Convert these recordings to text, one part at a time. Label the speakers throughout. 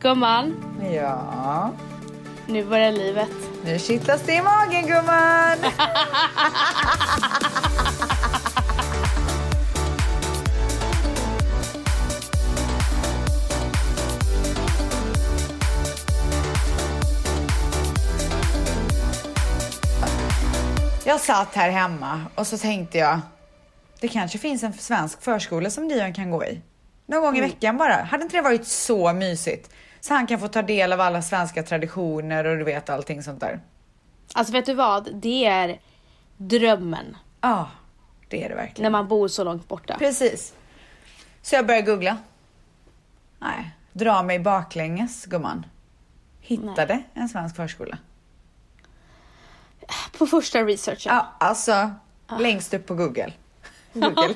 Speaker 1: gumman.
Speaker 2: Ja.
Speaker 1: Nu börjar livet.
Speaker 2: Nu kittlas det i magen gumman. Jag satt här hemma och så tänkte jag, det kanske finns en svensk förskola som Dion kan gå i. Någon gång i veckan bara. Hade inte det varit så mysigt? Så han kan få ta del av alla svenska traditioner och du vet allting sånt där.
Speaker 1: Alltså vet du vad? Det är drömmen
Speaker 2: Ja, det är det verkligen.
Speaker 1: när man bor så långt borta.
Speaker 2: Precis. Så jag började googla. Nej, dra mig baklänges gumman. Hittade en svensk förskola.
Speaker 1: På första researchen.
Speaker 2: Ja, alltså
Speaker 1: Ah.
Speaker 2: längst upp på Google. Google.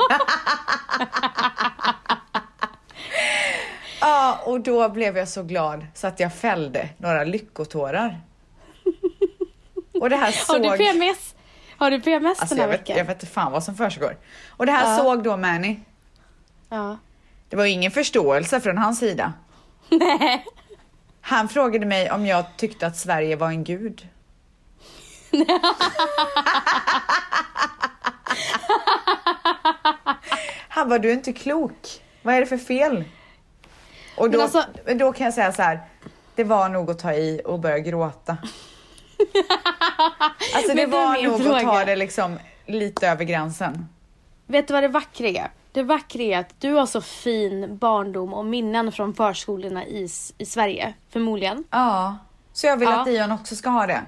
Speaker 2: ja, och då blev jag så glad så att jag fällde några lyckotårar. Och det här
Speaker 1: Har
Speaker 2: såg...
Speaker 1: du PMS? Har du PMS
Speaker 2: alltså,
Speaker 1: den här
Speaker 2: jag, vet,
Speaker 1: veckan?
Speaker 2: jag vet inte fan vad som försiggår. Och det här
Speaker 1: Ja.
Speaker 2: såg då Mani.
Speaker 1: Ja.
Speaker 2: Det var ju ingen förståelse från hans sida.
Speaker 1: Nej.
Speaker 2: Han frågade mig om jag tyckte att Sverige var en gud. Han bara, du är inte klok. Vad är det för fel? Och då,
Speaker 1: Men alltså-
Speaker 2: men då kan jag säga så här, det var nog att ta i och börja gråta. Alltså det
Speaker 1: Men du,
Speaker 2: var
Speaker 1: min
Speaker 2: nog att ta
Speaker 1: fråga.
Speaker 2: det liksom lite över gränsen.
Speaker 1: Vet du vad det vackra är? Det vackra är att du har så fin barndom och minnen från förskolorna i, s- i Sverige. Förmodligen.
Speaker 2: Ja, så jag vill
Speaker 1: Ja.
Speaker 2: att Dion också ska ha det.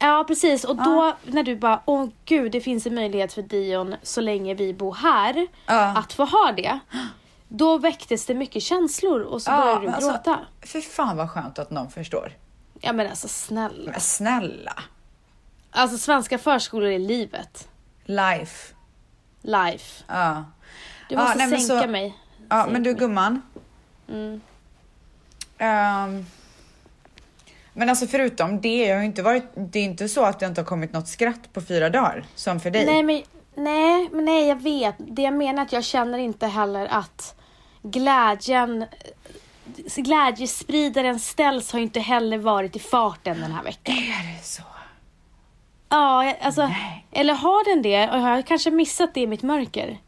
Speaker 1: Ja precis och då när du bara åh gud det finns en möjlighet för Dion så länge vi bor här
Speaker 2: Ja.
Speaker 1: att få ha det. Då väcktes det mycket känslor och så började du
Speaker 2: men alltså,
Speaker 1: gråta.
Speaker 2: Fy fan vad skönt att någon förstår.
Speaker 1: Ja men alltså snälla.
Speaker 2: Men snälla,
Speaker 1: Alltså svenska förskolor är livet.
Speaker 2: life.
Speaker 1: Life.
Speaker 2: Ja.
Speaker 1: Du
Speaker 2: Ja,
Speaker 1: måste
Speaker 2: nej, men
Speaker 1: sänka
Speaker 2: så-
Speaker 1: mig.
Speaker 2: Ja,
Speaker 1: Säg
Speaker 2: men du gumman.
Speaker 1: Mm.
Speaker 2: Ehm, men alltså förutom det, jag har ju inte varit, det är inte så att det inte har kommit något skratt på fyra dagar som för dig.
Speaker 1: Nej men, nej men nej jag vet. Det jag menar är att jag känner inte heller att glädjen eh, Glädjespridaren ställs har ju inte heller varit i farten den här veckan.
Speaker 2: Är det så?
Speaker 1: Ja, jag- alltså,
Speaker 2: Nej.
Speaker 1: eller har den det? Och har jag kanske missat det i mitt mörker?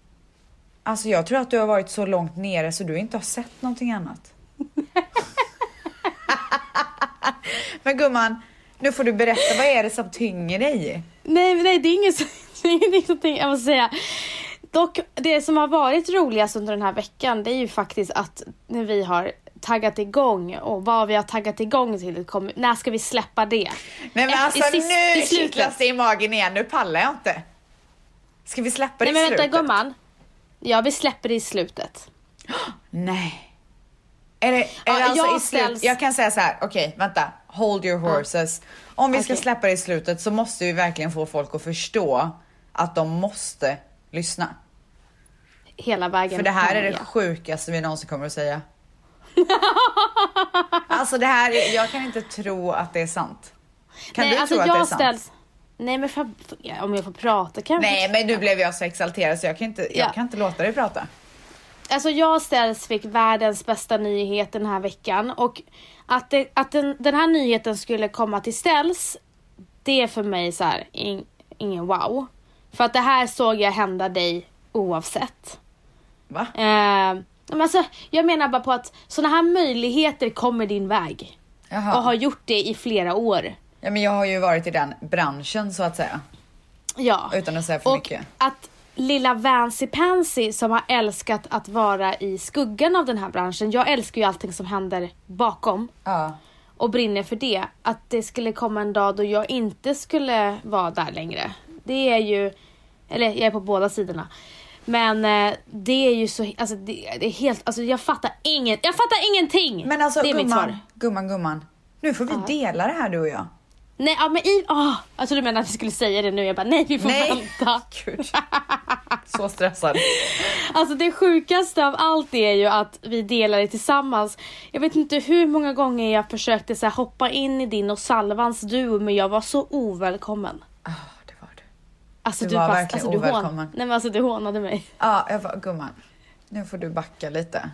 Speaker 2: Alltså jag tror att du har varit så långt nere så du inte har sett någonting annat. men gumman, nu får du berätta, vad är det som tynger dig?
Speaker 1: Nej, men nej det är inget som- det är ingenting som tänker- jag måste säga. Dock, det som har varit roligast under den här veckan det är ju faktiskt att när vi har taggat igång och vad vi har taggat igång till. det kommer- När ska vi släppa det?
Speaker 2: Nej men
Speaker 1: Efter-
Speaker 2: alltså
Speaker 1: Eh, i sist-
Speaker 2: nu
Speaker 1: i slutet.
Speaker 2: kittlas det i magen igen, nu pallar jag inte. Ska vi släppa det
Speaker 1: Nej men
Speaker 2: i
Speaker 1: vänta
Speaker 2: slutet?
Speaker 1: gumman. Ja, vi släpper det i slutet.
Speaker 2: Nej. Är det, är
Speaker 1: Ja,
Speaker 2: det alltså
Speaker 1: jag
Speaker 2: i
Speaker 1: ställs-
Speaker 2: slut? Jag kan säga så här, okej vänta. Hold your horses. Om vi ska
Speaker 1: Okej.
Speaker 2: släppa det i slutet så måste vi verkligen få folk att förstå att de måste lyssna.
Speaker 1: Hela vägen.
Speaker 2: För det här är det
Speaker 1: fram,
Speaker 2: sjukaste vi någonsin kommer att säga. alltså det här, är- jag kan inte tro att det är sant. Kan
Speaker 1: Nej,
Speaker 2: du
Speaker 1: alltså,
Speaker 2: tro att
Speaker 1: jag
Speaker 2: det är sant?
Speaker 1: ställs- Nej men för, om jag får prata kan jag
Speaker 2: Nej men nu blev jag så exalterad så jag kan inte, jag
Speaker 1: Ja.
Speaker 2: kan inte låta dig prata.
Speaker 1: Alltså jag ställs fick världens bästa nyhet den här veckan och att, det, att den, den här nyheten skulle komma till ställs det är för mig så här in, ingen wow. För att det här såg jag hända dig oavsett.
Speaker 2: Va?
Speaker 1: Eh, men alltså, jag menar bara på att sådana här möjligheter kommer din väg
Speaker 2: Jaha.
Speaker 1: och har gjort det i flera år.
Speaker 2: Ja, men jag har ju varit i den branschen så att säga.
Speaker 1: Ja.
Speaker 2: Utan att säga för
Speaker 1: och
Speaker 2: mycket.
Speaker 1: att lilla Vancy Pansy som har älskat att vara i skuggan av den här branschen. Jag älskar ju allting som händer bakom
Speaker 2: Ja.
Speaker 1: och brinner för det. Att det skulle komma en dag då jag inte skulle vara där längre. Det är ju, eller jag är på båda sidorna. Men eh, det är ju så, alltså det, det är helt, alltså jag fattar ingen, jag fattar ingenting!
Speaker 2: Men alltså
Speaker 1: det är mitt svar.
Speaker 2: gumman, gumman, gumman. Nu får vi dela det här du och jag.
Speaker 1: Nej, ja, men i, ah, jag trodde du menade att vi skulle säga det nu, jag bara nej vi får
Speaker 2: Nej.
Speaker 1: vänta.
Speaker 2: Gud. Så stressad.
Speaker 1: Alltså det sjukaste av allt är ju att vi delar det tillsammans. Jag vet inte hur många gånger jag försökte så här, hoppa in i din och Salvans duo men jag var så ovälkommen.
Speaker 2: Ah, det var du.
Speaker 1: Alltså
Speaker 2: Du
Speaker 1: du,
Speaker 2: var
Speaker 1: bara,
Speaker 2: verkligen
Speaker 1: alltså, du hån-
Speaker 2: ovälkommen.
Speaker 1: Nej men alltså du hånade mig.
Speaker 2: Ja, jag var, gumman. Nu får du backa lite.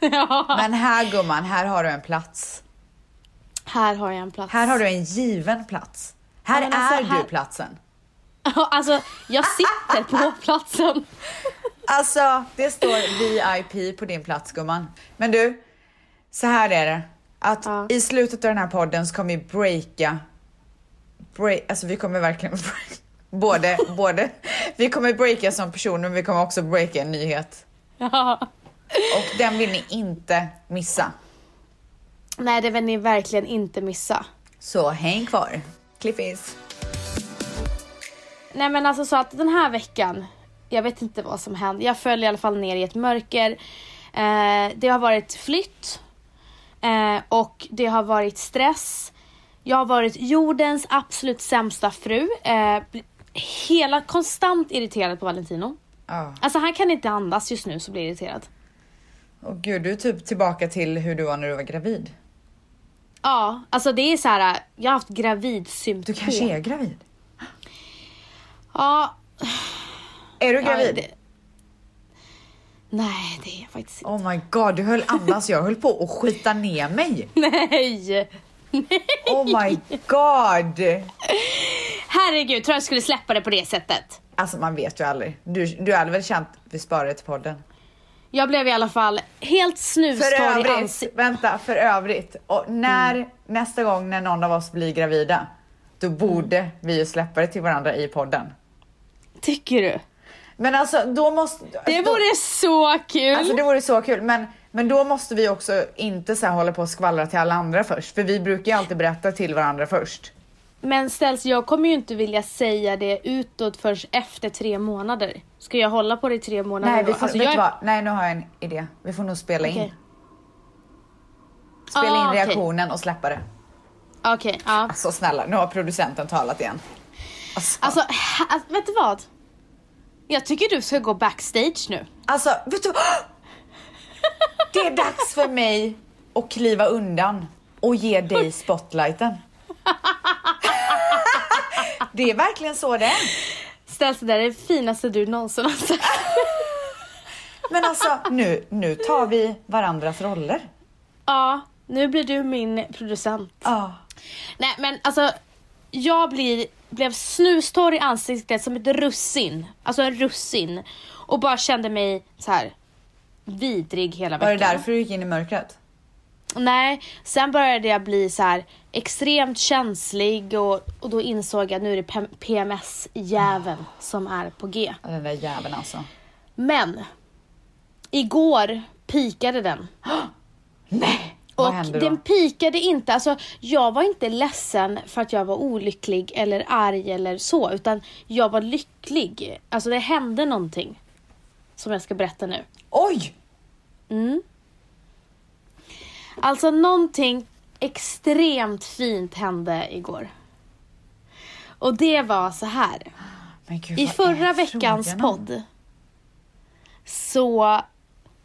Speaker 1: ja.
Speaker 2: Men här gumman, här har du en plats.
Speaker 1: Här har jag en plats.
Speaker 2: Här har du en given plats. Här
Speaker 1: Ja, men alltså,
Speaker 2: är
Speaker 1: här-
Speaker 2: du platsen.
Speaker 1: alltså, jag sitter på platsen.
Speaker 2: Alltså, det står VIP på din plats gumman. Men du, så här är det. Att
Speaker 1: Ja.
Speaker 2: i slutet av den här podden så kommer vi breaka. Break, alltså vi kommer verkligen både, både. Vi kommer breaka som personer men vi kommer också breaka en nyhet.
Speaker 1: Ja.
Speaker 2: Och den vill ni inte missa.
Speaker 1: Nej, det vill ni verkligen inte missa.
Speaker 2: Så häng kvar. Cliffis.
Speaker 1: Nej men alltså så att den här veckan, jag vet inte vad som hände. Jag föll i alla fall ner i ett mörker. Eh, det har varit flytt. Eh, och det har varit stress. Jag har varit jordens absolut sämsta fru. Eh, bl- hela konstant irriterad på Valentino.
Speaker 2: Ja.
Speaker 1: Alltså han kan inte andas just nu så blir jag irriterad.
Speaker 2: Och gud, du är typ tillbaka till hur du var när du var gravid.
Speaker 1: Ja, alltså det är så här. jag har haft gravidsymptom.
Speaker 2: Du kanske är gravid?
Speaker 1: Ja.
Speaker 2: Är du
Speaker 1: ja,
Speaker 2: gravid?
Speaker 1: det- Nej, det är jag faktiskt inte.
Speaker 2: Oh my god, du höll andas. Jag höll på att skita ner mig.
Speaker 1: Nej!
Speaker 2: Oh my god!
Speaker 1: Herregud, tror jag skulle släppa det på det sättet.
Speaker 2: Alltså man vet ju aldrig. Du, du hade väl känt, vi sparar det till podden.
Speaker 1: Jag blev i alla fall helt
Speaker 2: För
Speaker 1: snustorr i
Speaker 2: övrigt,
Speaker 1: ansiktet. Mm.
Speaker 2: vänta, för övrigt. Och när, nästa gång när någon av oss blir gravida, då borde vi ju släppa det till varandra i podden.
Speaker 1: Tycker du?
Speaker 2: Men alltså då måste...
Speaker 1: Det vore så kul!
Speaker 2: Alltså det vore så kul, men, men då måste vi också inte så här hålla på och skvallra till alla andra först, för vi brukar ju alltid berätta till varandra först.
Speaker 1: Men ställs, jag kommer ju inte vilja säga det utåt förrän efter tre månader. Ska jag hålla på det i tre månader
Speaker 2: Nej,
Speaker 1: då?
Speaker 2: vi får,
Speaker 1: Alltså,
Speaker 2: vet
Speaker 1: jag
Speaker 2: du
Speaker 1: är-
Speaker 2: vad? Nej, nu har jag en idé. Vi får nog spela in.
Speaker 1: Okej.
Speaker 2: Spela
Speaker 1: Ah,
Speaker 2: in
Speaker 1: okej.
Speaker 2: reaktionen och släppa det.
Speaker 1: Okej, ja.
Speaker 2: Alltså snälla, nu har producenten talat igen. Alltså,
Speaker 1: Alltså, ha- alltså, vet du vad? Jag tycker du ska gå backstage nu.
Speaker 2: alltså vet du Det är dags för mig att kliva undan och ge dig spotlighten. Det är verkligen så det är.
Speaker 1: Ställs, det där är det finaste du någonsin har sagt.
Speaker 2: Men alltså nu, nu tar vi varandras roller.
Speaker 1: Ja, nu blir du min producent.
Speaker 2: Ja.
Speaker 1: Nej men alltså, jag blir, blev snustorr i ansiktet som ett russin. Alltså en russin. Och bara kände mig så här vidrig hela
Speaker 2: Var
Speaker 1: veckan.
Speaker 2: det därför du gick in i mörkret?
Speaker 1: Nej, sen började jag bli så här extremt känslig och, och då insåg jag nu är det P- PMS-jäveln som är på G.
Speaker 2: Ja, Den där jäveln alltså.
Speaker 1: Men, igår pikade den.
Speaker 2: Nej! Vad
Speaker 1: Och
Speaker 2: hände då?
Speaker 1: den pikade inte, alltså jag var inte ledsen för att jag var olycklig eller arg eller så, utan jag var lycklig. Alltså det hände någonting. Som jag ska berätta nu. Mm.
Speaker 2: Oj!
Speaker 1: Alltså någonting extremt fint hände igår. Och det var så här.
Speaker 2: Men gud,
Speaker 1: I
Speaker 2: vad
Speaker 1: förra
Speaker 2: är
Speaker 1: veckans
Speaker 2: frågan om?
Speaker 1: podd så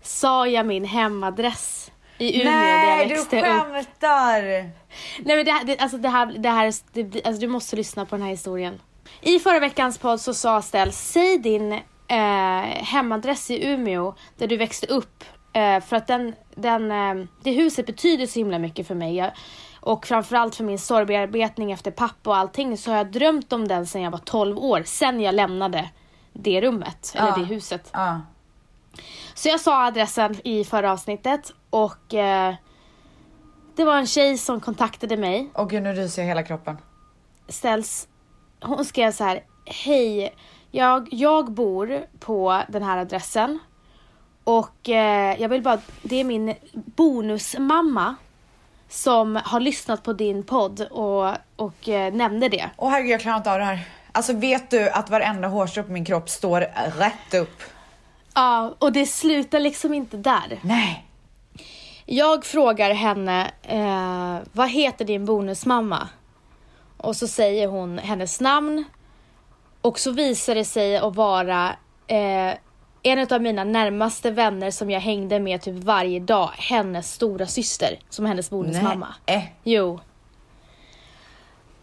Speaker 1: sa jag min hemadress i Umeå där jag
Speaker 2: Nej, du
Speaker 1: växte upp.
Speaker 2: skämtar!
Speaker 1: Nej men det här, det, alltså det här, det här det, blir- alltså du måste lyssna på den här historien. I förra veckans podd så sa Stell, säg din eh, hemadress i Umeå där du växte upp. Eh, för att den, den, eh, det huset betyder så himla mycket för mig. Jag, och framförallt för min sorgbearbetning efter pappa och allting så har jag drömt om den sedan jag var 12 år. Sen jag lämnade det rummet, eller
Speaker 2: Ja.
Speaker 1: det huset.
Speaker 2: Ja.
Speaker 1: Så jag sa adressen i förra avsnittet och eh, det var en tjej som kontaktade mig
Speaker 2: Åh gud, nu ryser jag hela kroppen.
Speaker 1: ställs, hon skrev så här, hej, jag, jag bor på den här adressen och eh, jag vill bara, det är min bonusmamma som har lyssnat på din podd och, och eh, nämnde det.
Speaker 2: Åh herregud, jag klarar inte av det här. Alltså vet du att varenda hårstrå på min kropp står rätt upp?
Speaker 1: Ja, och det slutar liksom inte där.
Speaker 2: Nej.
Speaker 1: Jag frågar henne, eh, vad heter din bonusmamma? Och så säger hon hennes namn. Och så visar det sig att vara eh, en av mina närmaste vänner som jag hängde med typ varje dag. Hennes stora syster som är hennes bonusmamma.
Speaker 2: Nej. Eh.
Speaker 1: Jo.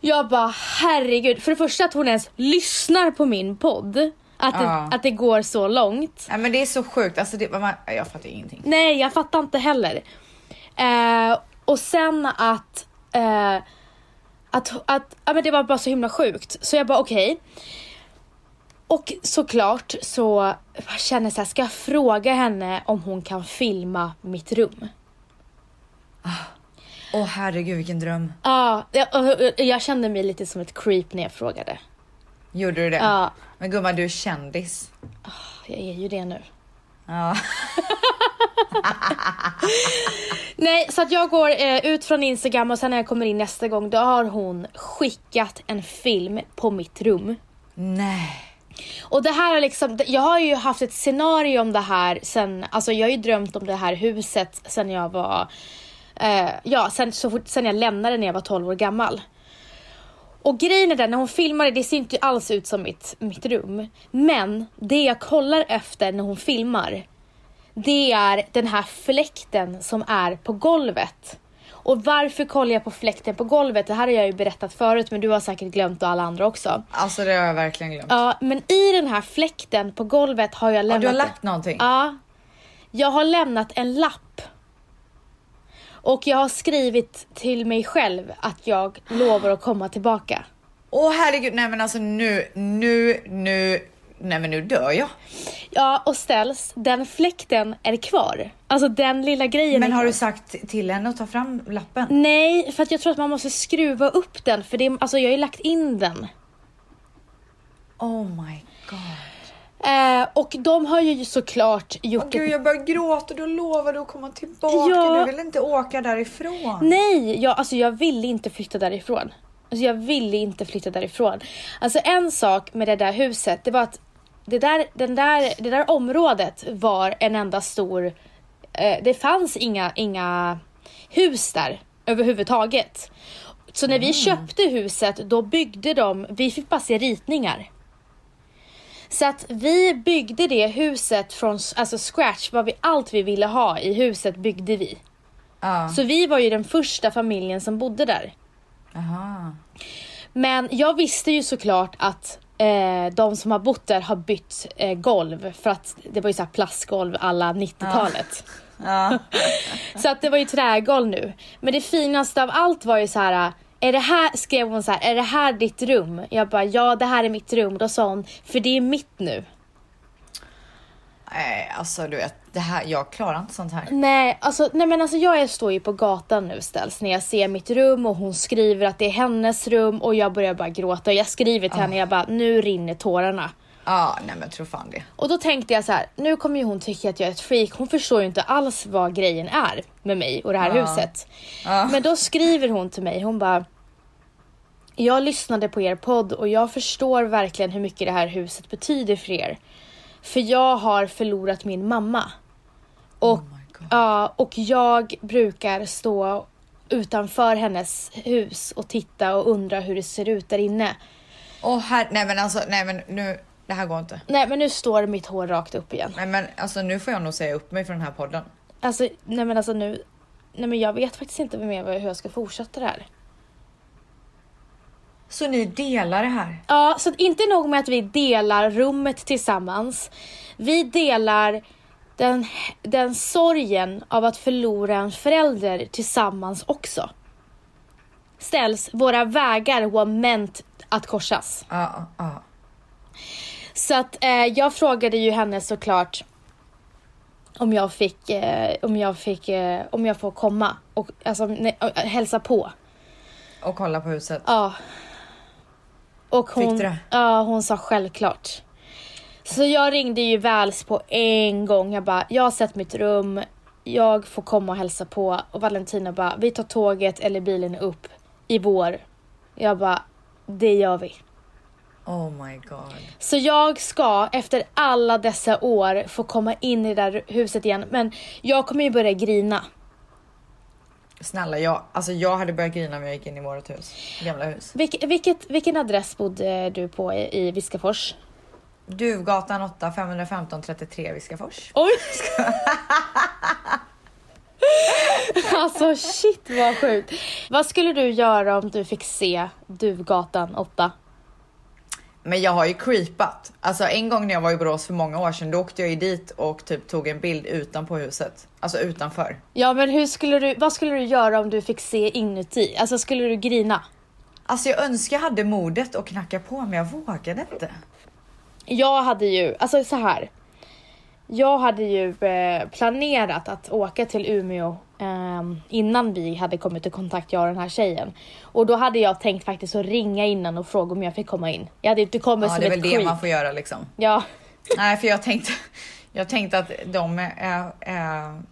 Speaker 1: Jag bara herregud. För det första att hon ens lyssnar på min podd. Att,
Speaker 2: Ja.
Speaker 1: det, att det går så långt.
Speaker 2: Nej men det är så sjukt, alltså det, man, jag fattar ingenting.
Speaker 1: Nej, jag fattar inte heller. Eh, och sen att eh, eh, att, att ja, men det var bara så himla sjukt. Så jag bara okej. Och såklart så jag känner jag så här, ska jag fråga henne om hon kan filma mitt rum?
Speaker 2: Åh herregud vilken dröm.
Speaker 1: Ja, jag, och- och- jag kände mig lite som ett creep när jag frågade.
Speaker 2: Gjorde du det?
Speaker 1: Ja.
Speaker 2: Men gumman du är kändis.
Speaker 1: Jag är ju det nu.
Speaker 2: Ja.
Speaker 1: Nej, så att jag går eh, ut från Instagram och sen när jag kommer in nästa gång då har hon skickat en film på mitt rum.
Speaker 2: Nej.
Speaker 1: Och det här är liksom, jag har ju haft ett scenario om det här sen, alltså jag har ju drömt om det här huset sen jag var, eh, ja sen, så fort, sen jag lämnade när jag var 12 år gammal. Och grejen är den, när hon filmade, det ser inte alls ut som mitt, mitt rum. Men det jag kollar efter när hon filmar, det är den här fläkten som är på golvet. Och varför kollar jag på fläkten på golvet? Det här har jag ju berättat förut men du har säkert glömt och alla andra också.
Speaker 2: Alltså det har jag verkligen glömt.
Speaker 1: Ja, men i den här fläkten på golvet har jag
Speaker 2: Ja,
Speaker 1: lämnat...
Speaker 2: du har lagt någonting?
Speaker 1: Ja. Jag har lämnat en lapp. Och jag har skrivit till mig själv att jag lovar att komma tillbaka.
Speaker 2: Åh herregud, nej men alltså nu, nu, nu, nej men nu dör jag.
Speaker 1: Ja, och ställs, den fläkten är kvar. Alltså den lilla grejen
Speaker 2: Men
Speaker 1: är
Speaker 2: har
Speaker 1: kvar.
Speaker 2: du sagt till henne att ta fram lappen?
Speaker 1: Nej, för att jag tror att man måste skruva upp den för det är, alltså jag har ju lagt in den.
Speaker 2: Oh my god.
Speaker 1: Eh, och de har ju såklart gjort
Speaker 2: Åh
Speaker 1: ett
Speaker 2: gud jag börjar gråta, du lovade att komma tillbaka,
Speaker 1: Ja.
Speaker 2: du vill inte åka därifrån.
Speaker 1: Nej, jag, alltså jag ville inte flytta därifrån. Alltså jag ville inte flytta därifrån. Alltså en sak med det där huset, det var att det där, den där, det där området var en enda stor... Eh, det fanns inga, inga hus där överhuvudtaget. Så när vi köpte huset, då byggde de... Vi fick bara se ritningar. Så att vi byggde det huset från s- alltså scratch, vad vi, allt vi ville ha i huset byggde vi.
Speaker 2: Ja.
Speaker 1: Så vi var ju den första familjen som bodde där.
Speaker 2: Aha.
Speaker 1: Men jag visste ju såklart att eh, de som har bott där har bytt eh, golv för att det var ju så här plastgolv alla 90-talet.
Speaker 2: Ja.
Speaker 1: Så att det var ju trägolv nu. Men det finaste av allt var ju så här. eh, Är det här, skrev hon så här, är det här ditt rum? Jag bara, ja det här är mitt rum. Då sa hon, för det är mitt nu.
Speaker 2: Nej alltså du vet, det här, jag klarar inte sånt här.
Speaker 1: Nej, alltså, nej men alltså jag är, står ju på gatan nu ställs när jag ser mitt rum och hon skriver att det är hennes rum och jag börjar bara gråta. Jag skriver till henne jag bara nu rinner tårarna.
Speaker 2: Ja, nej men tro fan det.
Speaker 1: Och då tänkte jag så här, nu kommer ju hon tycka att jag är ett freak. Hon förstår ju inte alls vad grejen är med mig och det här
Speaker 2: Ja.
Speaker 1: huset.
Speaker 2: Ja.
Speaker 1: Men då skriver hon till mig, hon bara Jag lyssnade på er podd och jag förstår verkligen hur mycket det här huset betyder för er. För jag har förlorat min mamma. Och
Speaker 2: Oh my god.
Speaker 1: Ja, och jag brukar stå utanför hennes hus och titta och undra hur det ser ut där inne.
Speaker 2: Åh här, nej men alltså, nej men nu, det här går inte.
Speaker 1: Nej, men nu står mitt hår rakt upp igen.
Speaker 2: Nej men alltså nu får jag nog säga upp mig från den här podden.
Speaker 1: Alltså, nej men alltså nu... Nej men jag vet faktiskt inte mer vad- hur jag ska fortsätta det här.
Speaker 2: Så ni delar det här?
Speaker 1: Ja, så att inte nog med att vi delar rummet tillsammans. Vi delar den, den sorgen av att förlora en förälder tillsammans också. Ställs, våra vägar var meant att korsas.
Speaker 2: Ja, ja, ja.
Speaker 1: Så att eh, jag frågade ju henne såklart om jag fick, eh, om jag fick, eh, om jag får komma och alltså, nej, ö- ö- hälsa på.
Speaker 2: Och kolla på huset.
Speaker 1: Ja. Och hon,
Speaker 2: Fick du det?
Speaker 1: Ja, hon sa självklart. Så jag ringde ju Väls på en gång. Jag bara, jag har sett mitt rum. Jag får komma och hälsa på. Och Valentina bara, vi tar tåget eller bilen upp i vår. Jag bara, det gör vi.
Speaker 2: Oh my god.
Speaker 1: Så jag ska efter alla dessa år få komma in i det där huset igen. Men jag kommer ju börja grina.
Speaker 2: Snälla jag, alltså jag hade börjat grina om jag gick in i vårt hus. Gamla hus.
Speaker 1: Vilk, vilket, vilken adress bodde du på i, i Viskafors?
Speaker 2: Duvgatan 8, 515 33 Viskafors.
Speaker 1: Oj! alltså shit vad sjukt. Vad skulle du göra om du fick se Duvgatan 8?
Speaker 2: Men jag har ju creepat. Alltså en gång när jag var i Borås för många år sedan, då åkte jag ju dit och typ tog en bild utanpå huset. Alltså utanför.
Speaker 1: Ja men hur skulle du, vad skulle du göra om du fick se inuti? Alltså skulle du grina?
Speaker 2: Alltså jag önskar jag hade modet att knacka på men jag vågade inte.
Speaker 1: Jag hade ju, alltså så här. Jag hade ju eh, planerat att åka till Umeå ehm, innan vi hade kommit i kontakt, jag och den här tjejen. Och då hade jag tänkt faktiskt att ringa innan och fråga om jag fick komma in. Jag hade inte kommit
Speaker 2: Ja,
Speaker 1: som
Speaker 2: det är väl
Speaker 1: ett
Speaker 2: det
Speaker 1: creep.
Speaker 2: man får göra liksom.
Speaker 1: Ja,
Speaker 2: Nej, för jag tänkte, jag tänkte att de är, är...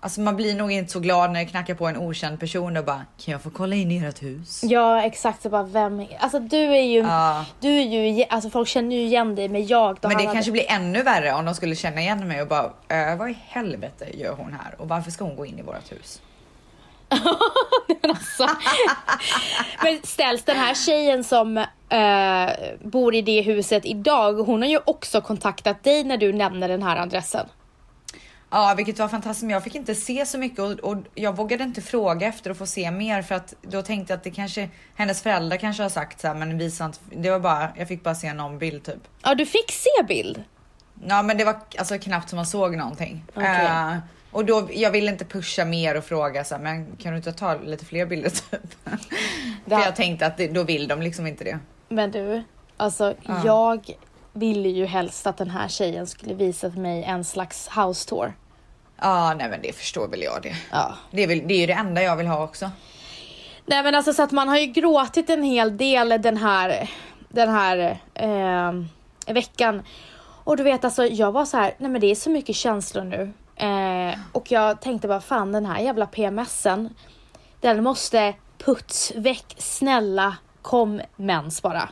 Speaker 2: Alltså man blir nog inte så glad när det knackar på en okänd person och bara kan jag få kolla in i ert hus?
Speaker 1: ja exakt. Så bara vem, alltså du är ju,
Speaker 2: Ja.
Speaker 1: du är ju, alltså folk känner ju igen dig men jag då
Speaker 2: Men det
Speaker 1: han hade-
Speaker 2: kanske blir ännu värre om de skulle känna igen mig och bara "Eh, vad i helvete gör hon här och varför ska hon gå in i vårt hus?
Speaker 1: Så. Men ställs den här tjejen som eh, bor i det huset idag, hon har ju också kontaktat dig när du nämner den här adressen.
Speaker 2: Ja, vilket var fantastiskt. Men jag fick inte se så mycket och, och jag vågade inte fråga efter att få se mer för att då tänkte jag att det kanske hennes föräldrar kanske har sagt så här, men visa inte. Det var bara. Jag fick bara se någon bild typ.
Speaker 1: Ja, du fick se bild.
Speaker 2: Ja men det var alltså knappt som man såg någonting.
Speaker 1: Okej.
Speaker 2: Eh, och då, jag ville inte pusha mer och fråga så här, men kan du inte ta lite fler bilder typ?
Speaker 1: Det här-
Speaker 2: För jag tänkte att det, då vill de liksom inte det.
Speaker 1: Men du, alltså jag ville ju helst att den här tjejen skulle visa för mig en slags house tour.
Speaker 2: Ja nej men det förstår väl jag det.
Speaker 1: Ja.
Speaker 2: Det är, väl, det är ju det enda jag vill ha också.
Speaker 1: Nej men alltså så att man har ju gråtit en hel del den här, den här ehm, veckan. Och du vet alltså jag var så här, nej men det är så mycket känslor nu. Eh, och jag tänkte bara fan den här jävla PMSen. Den måste puts väck, snälla kom mens bara.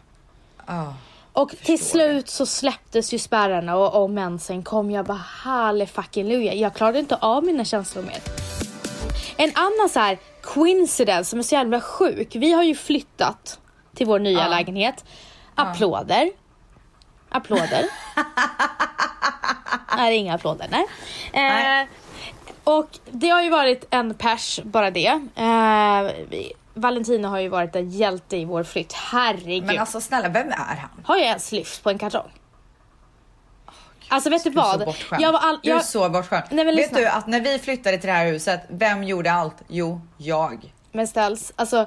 Speaker 2: Ja.
Speaker 1: Och till slut så släpptes ju spärrarna och, och mensen kom. Jag bara halle fucking luja. Jag klarade inte av mina känslor mer. En annan så här coincidence som är så jävla sjuk. Vi har ju flyttat till vår nya lägenhet. Applåder. Applåder. nej, det är inga applåder. Nej. Eh,
Speaker 2: Nej.
Speaker 1: och det har ju varit en pers, bara det. Eh, vi, Valentina har ju varit en hjälte i vår flytt. Herregud.
Speaker 2: Men alltså snälla, vem är han?
Speaker 1: Har jag ens lyft på en kartong? Alltså vet du
Speaker 2: Du är så
Speaker 1: vad?
Speaker 2: bortskämd.
Speaker 1: Jag var all,
Speaker 2: Du är
Speaker 1: jag,
Speaker 2: så bortskämd.
Speaker 1: Nej, men
Speaker 2: Vet
Speaker 1: lyssna.
Speaker 2: du att när vi flyttade till det här huset, vem gjorde allt? Jo, jag.
Speaker 1: Men ställs, alltså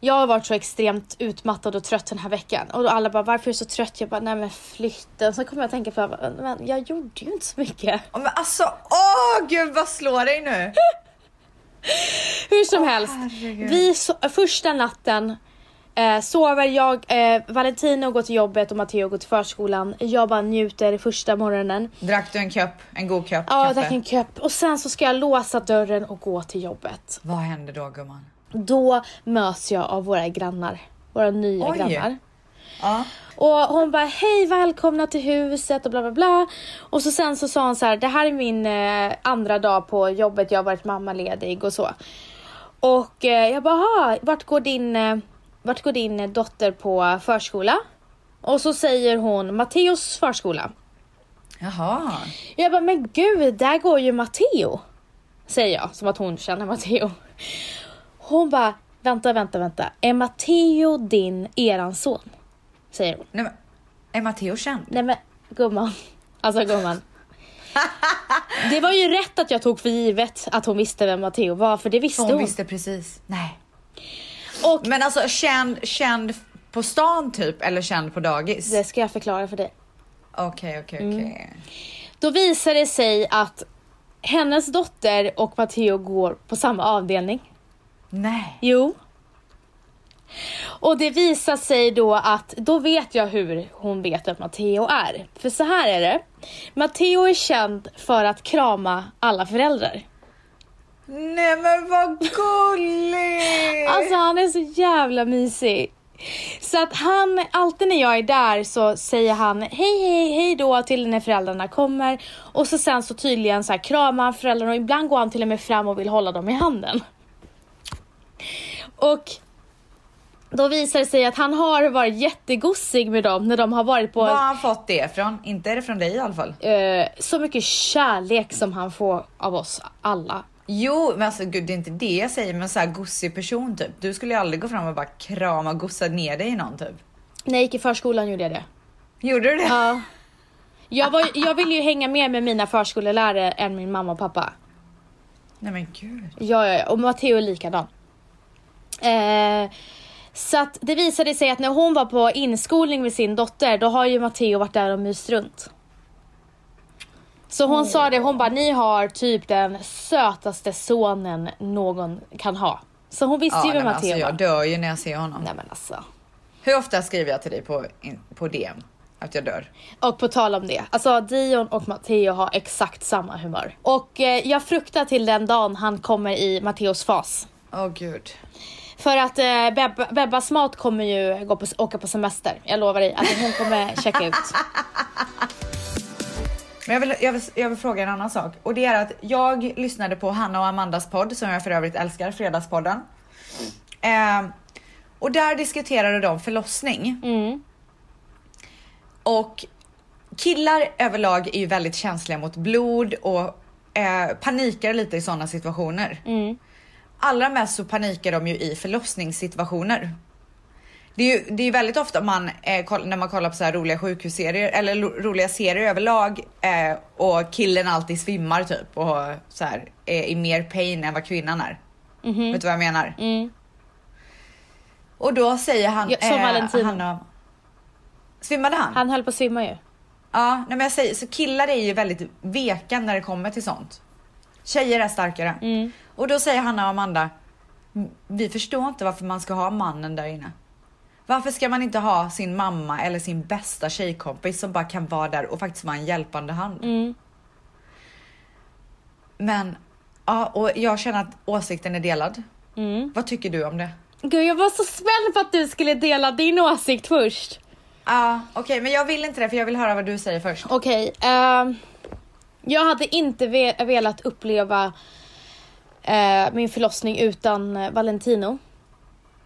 Speaker 1: jag har varit så extremt utmattad och trött den här veckan och då alla bara varför är du så trött? Jag bara nej men flytten. Så kommer jag att tänka på men jag gjorde ju inte så mycket.
Speaker 2: Ja, Men alltså, åh gud vad slår dig nu?
Speaker 1: Hur som helst,
Speaker 2: herregud.
Speaker 1: vi so- första natten eh, sover jag, eh, Valentino går till jobbet och Matteo går till förskolan. Jag bara njuter första morgonen.
Speaker 2: Drack du en kopp, en god kopp
Speaker 1: Ja,
Speaker 2: kaffe?
Speaker 1: drack en kopp och sen så ska jag låsa dörren och gå till jobbet.
Speaker 2: Vad hände då gumman?
Speaker 1: Då möts jag av våra grannar. Våra nya
Speaker 2: Oj.
Speaker 1: grannar.
Speaker 2: Ja.
Speaker 1: Och hon bara hej välkomna till huset och bla bla bla. Och så sen så sa hon så här det här är min eh, andra dag på jobbet, jag har varit mammaledig och så. Och eh, jag bara "Ha, vart går din, eh, vart går din eh, dotter på förskola? Och så säger hon Matteos förskola.
Speaker 2: Jaha.
Speaker 1: Jag bara, men gud, där går ju Matteo. Säger jag, som att hon känner Matteo. Hon bara, vänta, vänta, vänta. Är Matteo din, eran son? Säger hon.
Speaker 2: Nej, men, är Matteo känd?
Speaker 1: Nej men gumman. Alltså gumman. Det var ju rätt att jag tog för givet att hon visste vem Matteo var, för det visste
Speaker 2: Hon
Speaker 1: hon.
Speaker 2: visste precis. Nej.
Speaker 1: Och
Speaker 2: Men alltså känd, känd på stan typ eller känd på dagis?
Speaker 1: det Mm. ska jag förklara för dig.
Speaker 2: Okej, okej, okej.
Speaker 1: Då visar det sig att hennes dotter och Matteo går på samma avdelning.
Speaker 2: Nej.
Speaker 1: Jo. Och det visar sig då att då vet jag hur hon vet att Matteo är. För så här är det. Matteo är känd för att krama alla föräldrar.
Speaker 2: Nej men vad gullig!
Speaker 1: Alltså han är så jävla mysig. Så att han, alltid när jag är där så säger han hej hej hej då till när föräldrarna kommer. Och så sen så tydligen så här kramar han föräldrarna och ibland går han till och med fram och vill hålla dem i handen. Och då visar det sig att han har varit jättegossig med dem när de har varit på
Speaker 2: Var har han fått det ifrån? Inte är det från dig i alla fall.
Speaker 1: eh, så mycket kärlek som han får av oss alla.
Speaker 2: Jo, men alltså gud, det är inte det jag säger, men så här gossig person typ. Du skulle ju aldrig gå fram och bara krama och gossa ner dig i någon typ.
Speaker 1: När jag gick i förskolan gjorde jag det.
Speaker 2: Gjorde du det?
Speaker 1: Ja. Jag, var, jag ville ju hänga mer med mina förskolelärare än min mamma och pappa.
Speaker 2: Nej men gud.
Speaker 1: Ja, ja, ja. Och Matteo är likadan. Eh, så att det visade sig att när hon var på inskolning med sin dotter, då har ju Matteo varit där och myst runt. Så hon sa det, hon bara, ni har typ den sötaste sonen någon kan ha. Så hon visste
Speaker 2: Ja,
Speaker 1: ju
Speaker 2: nej,
Speaker 1: vem
Speaker 2: men alltså,
Speaker 1: Matteo
Speaker 2: jag
Speaker 1: var.
Speaker 2: dör ju när jag ser honom.
Speaker 1: Nej men alltså.
Speaker 2: Hur ofta skriver jag till dig på, in, på DM att jag dör?
Speaker 1: Och på tal om det, alltså Dion och Matteo har exakt samma humör. Och eh, jag fruktar till den dagen han kommer i Matteos fas.
Speaker 2: Åh gud.
Speaker 1: För att eh, Beb- Bebbas mat kommer ju gå på, åka på semester. Jag lovar dig. Alltså hon kommer checka ut.
Speaker 2: Men jag vill, jag, vill, jag vill fråga en annan sak och det är att jag lyssnade på Hanna och Amandas podd som jag för övrigt älskar, Fredagspodden. Eh, och där diskuterade de förlossning.
Speaker 1: Mm,
Speaker 2: Och killar överlag är ju väldigt känsliga mot blod och eh, panikar lite i sådana situationer.
Speaker 1: mm,
Speaker 2: Allra mest så panikar de ju i förlossningssituationer. Det är ju det är ju väldigt ofta man, eh, koll- när man kollar på så här roliga sjukhusserier eller lo- roliga serier överlag eh, och killen alltid svimmar typ och så här, är i mer pain än vad kvinnan är.
Speaker 1: Mhm.
Speaker 2: Vet du vad jag menar?
Speaker 1: mm.
Speaker 2: Och då säger han... eh,
Speaker 1: Ja, som Valentino.
Speaker 2: Hanna- svimmade han?
Speaker 1: Han höll på att svimma ju.
Speaker 2: Ja, nej men jag säger, så killar är ju väldigt veka när det kommer till sånt. Tjejer är starkare.
Speaker 1: Mm.
Speaker 2: Och då säger Hanna och Amanda, "M- vi förstår inte varför man ska ha mannen där inne. Varför ska man inte ha sin mamma eller sin bästa tjejkompis som bara kan vara där och faktiskt vara en hjälpande hand?
Speaker 1: Mm.
Speaker 2: Men, ja, och jag känner att åsikten är delad. Vad tycker du om det?
Speaker 1: mm. Gud jag var så spänd på att du skulle dela din åsikt först.
Speaker 2: Ja, okej, men jag vill inte det för jag vill höra vad du säger först.
Speaker 1: Okej. ehm, jag hade inte ve- velat uppleva eh, min förlossning utan eh, Valentino.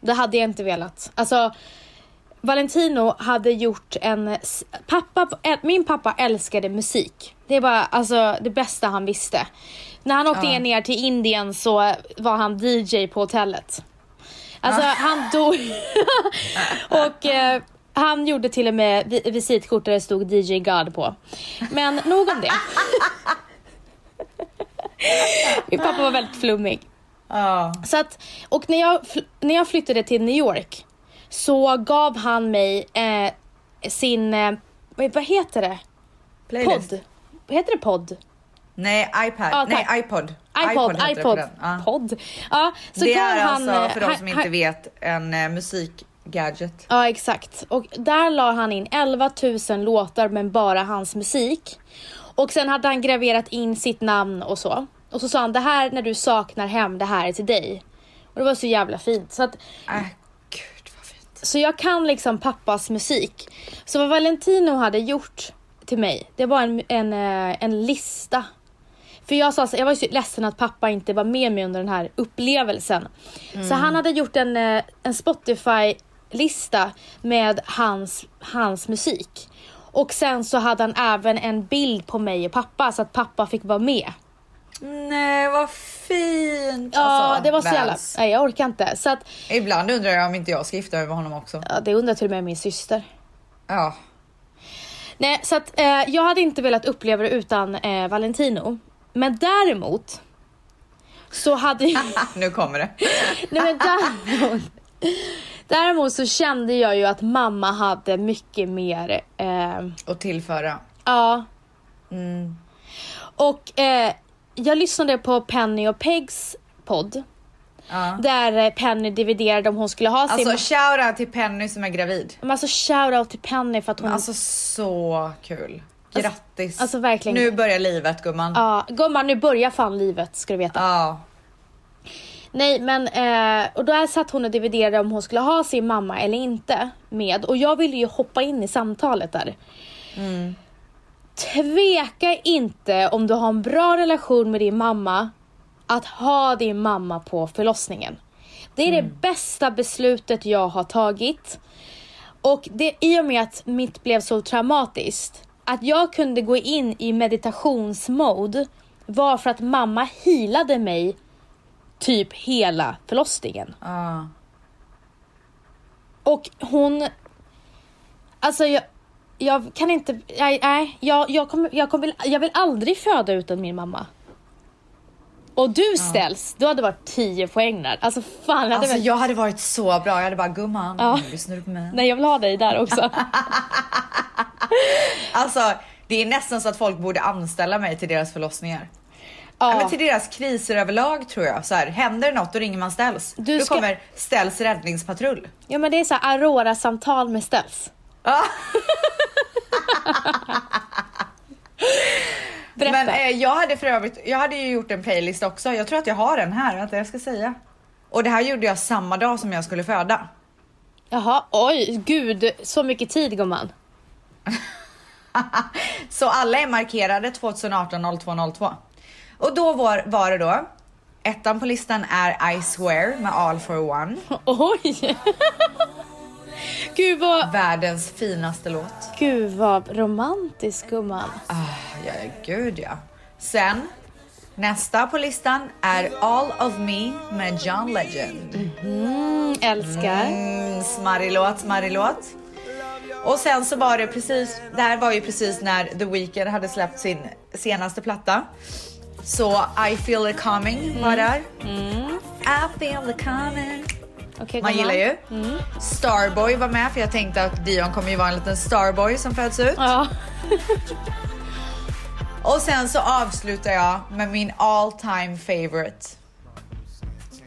Speaker 1: Det hade jag inte velat. Alltså, Valentino hade gjort en... s- Pappa, ä- min pappa älskade musik. Det var alltså det bästa han visste. När han åkte
Speaker 2: Ja.
Speaker 1: ner till Indien så var han DJ på hotellet. Alltså han dog. och eh, han gjorde till och med vi- visitkort där det stod DJ God på. Men nog om det. Min pappa var väldigt flummig.
Speaker 2: Ja,
Speaker 1: Så att, och när jag, fl- när jag flyttade till New York så gav han mig eh, sin, eh, vad vad heter det?
Speaker 2: playlist.
Speaker 1: Podd. Heter det podd?
Speaker 2: Nej, iPad.
Speaker 1: Ja,
Speaker 2: Nej,
Speaker 1: tack.
Speaker 2: iPod.
Speaker 1: iPod,
Speaker 2: heter det på
Speaker 1: iPod,
Speaker 2: den. Ja.
Speaker 1: podd. Ja, så
Speaker 2: det
Speaker 1: gav
Speaker 2: är
Speaker 1: han,
Speaker 2: alltså, för
Speaker 1: eh,
Speaker 2: de som
Speaker 1: han-
Speaker 2: inte vet, en eh, musikgadget.
Speaker 1: Ja exakt. Och där la han in 11 000 låtar men bara hans musik. Och sen hade han graverat in sitt namn och så. Och så sa han det här när du saknar hem, det här är till dig. Och det var så jävla fint. Så, att,
Speaker 2: Äh, gud vad fint.
Speaker 1: så jag kan liksom pappas musik. Så vad Valentino hade gjort till mig, det var en, en, eh, en lista. För jag sa så, jag var ju så ledsen att pappa inte var med mig under den här upplevelsen. Så han hade gjort en, eh, en Spotify-lista med hans, hans musik. Och sen så hade han även en bild på mig och pappa så att pappa fick vara med.
Speaker 2: Nej, vad fint.
Speaker 1: Ja,
Speaker 2: Alltså,
Speaker 1: det var så jävla...
Speaker 2: Vans.
Speaker 1: Nej, jag orkar inte. Så att,
Speaker 2: Ibland undrar jag om inte jag ska gifta mig med honom också.
Speaker 1: ja, det undrar till och med min syster.
Speaker 2: Ja,
Speaker 1: Nej, så att eh, jag hade inte velat uppleva det utan eh, Valentino. Men däremot så hade jag...
Speaker 2: nu kommer det.
Speaker 1: Nej, men däremot, däremot så kände jag ju att mamma hade mycket mer... Eh,
Speaker 2: Och tillföra.
Speaker 1: ja.
Speaker 2: Mm.
Speaker 1: Och eh, jag lyssnade på Penny och Pegs podd.
Speaker 2: Ja.
Speaker 1: Där eh, Penny dividerade om hon skulle ha sin...
Speaker 2: Alltså shoutout till Penny som är gravid.
Speaker 1: Men alltså shoutout till Penny för att hon...
Speaker 2: Alltså så kul. Grattis.
Speaker 1: Mm. alltså, verkligen.
Speaker 2: Nu börjar livet gumman. Ja.
Speaker 1: Ja, gumman nu börjar fan livet ska du veta. Nej men, eh, och där satt hon och dividerade om hon skulle ha sin mamma eller inte med. Och jag ville ju hoppa in i samtalet där. Tveka inte om du har en bra relation med din mamma, att ha din mamma på förlossningen. Det är det bästa beslutet jag har tagit. Och det i och med att mitt blev så traumatiskt, att jag kunde gå in i meditationsmode var för att mamma healade mig typ hela förlossningen.
Speaker 2: ja.
Speaker 1: Och hon Alltså jag, jag kan inte, nej, nej jag, jag, kommer, jag, kommer, jag vill aldrig föda utan min mamma. Och du ställs, du hade varit 10 poäng där. Alltså fan, jag hade
Speaker 2: Alltså
Speaker 1: varit,
Speaker 2: jag hade varit så bra, jag hade bara gumman,
Speaker 1: Ja.
Speaker 2: lyssnar du på mig?
Speaker 1: nej jag vill ha dig där också.
Speaker 2: Alltså det är nästan så att folk borde anställa mig till deras förlossningar. Ja. Men
Speaker 1: ja.
Speaker 2: till deras kriser överlag tror jag. Så här, händer det något då ringer man Ställs.
Speaker 1: Du
Speaker 2: Du
Speaker 1: ska-
Speaker 2: Då kommer Ställs räddningspatrull.
Speaker 1: ja men det är så här Aurora-samtal med ställs.
Speaker 2: Ja.
Speaker 1: Berätta.
Speaker 2: Men eh, jag hade för övrigt, jag hade ju gjort en playlist också. Jag tror att jag har den här, vänta jag ska säga. Och det här gjorde jag samma dag som jag skulle föda.
Speaker 1: Jaha, oj, gud, så mycket tid gumman.
Speaker 2: Så alla är markerade 2018 0202. Och då var, var det då, ettan på listan är I swear med All for One.
Speaker 1: Oj! gud vad,
Speaker 2: Världens finaste låt.
Speaker 1: gud vad romantisk gumman.
Speaker 2: Ah, ja, gud ja. Sen, nästa på listan är All of me med John Legend.
Speaker 1: Mm, älskar.
Speaker 2: Mm, smarrig låt, smarrig låt. Och sen så var det precis, det här var ju precis när The Weeknd hade släppt sin senaste platta. Så I feel it coming var där. I feel it coming.
Speaker 1: Okej,
Speaker 2: Man
Speaker 1: gumman.
Speaker 2: gillar ju. Starboy var med för jag tänkte att Dion kommer ju vara en liten starboy som föds ut.
Speaker 1: Ja.
Speaker 2: Och sen så avslutar jag med min all time favorite.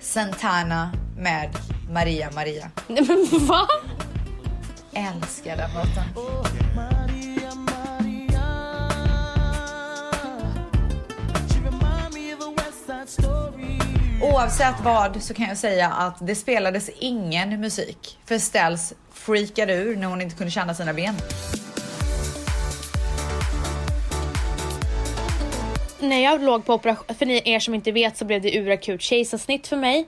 Speaker 2: Santana med Maria Maria.
Speaker 1: Nej men va?
Speaker 2: Älskar den låten.
Speaker 3: Maria, Maria. She remind me of a West Side Story.
Speaker 2: Oavsett vad så kan jag säga att det spelades ingen musik. För Ställs freakade ur när hon inte kunde känna sina ben.
Speaker 1: När jag låg på operation, för ni er som inte vet så blev det urakut kejsarsnitt för mig.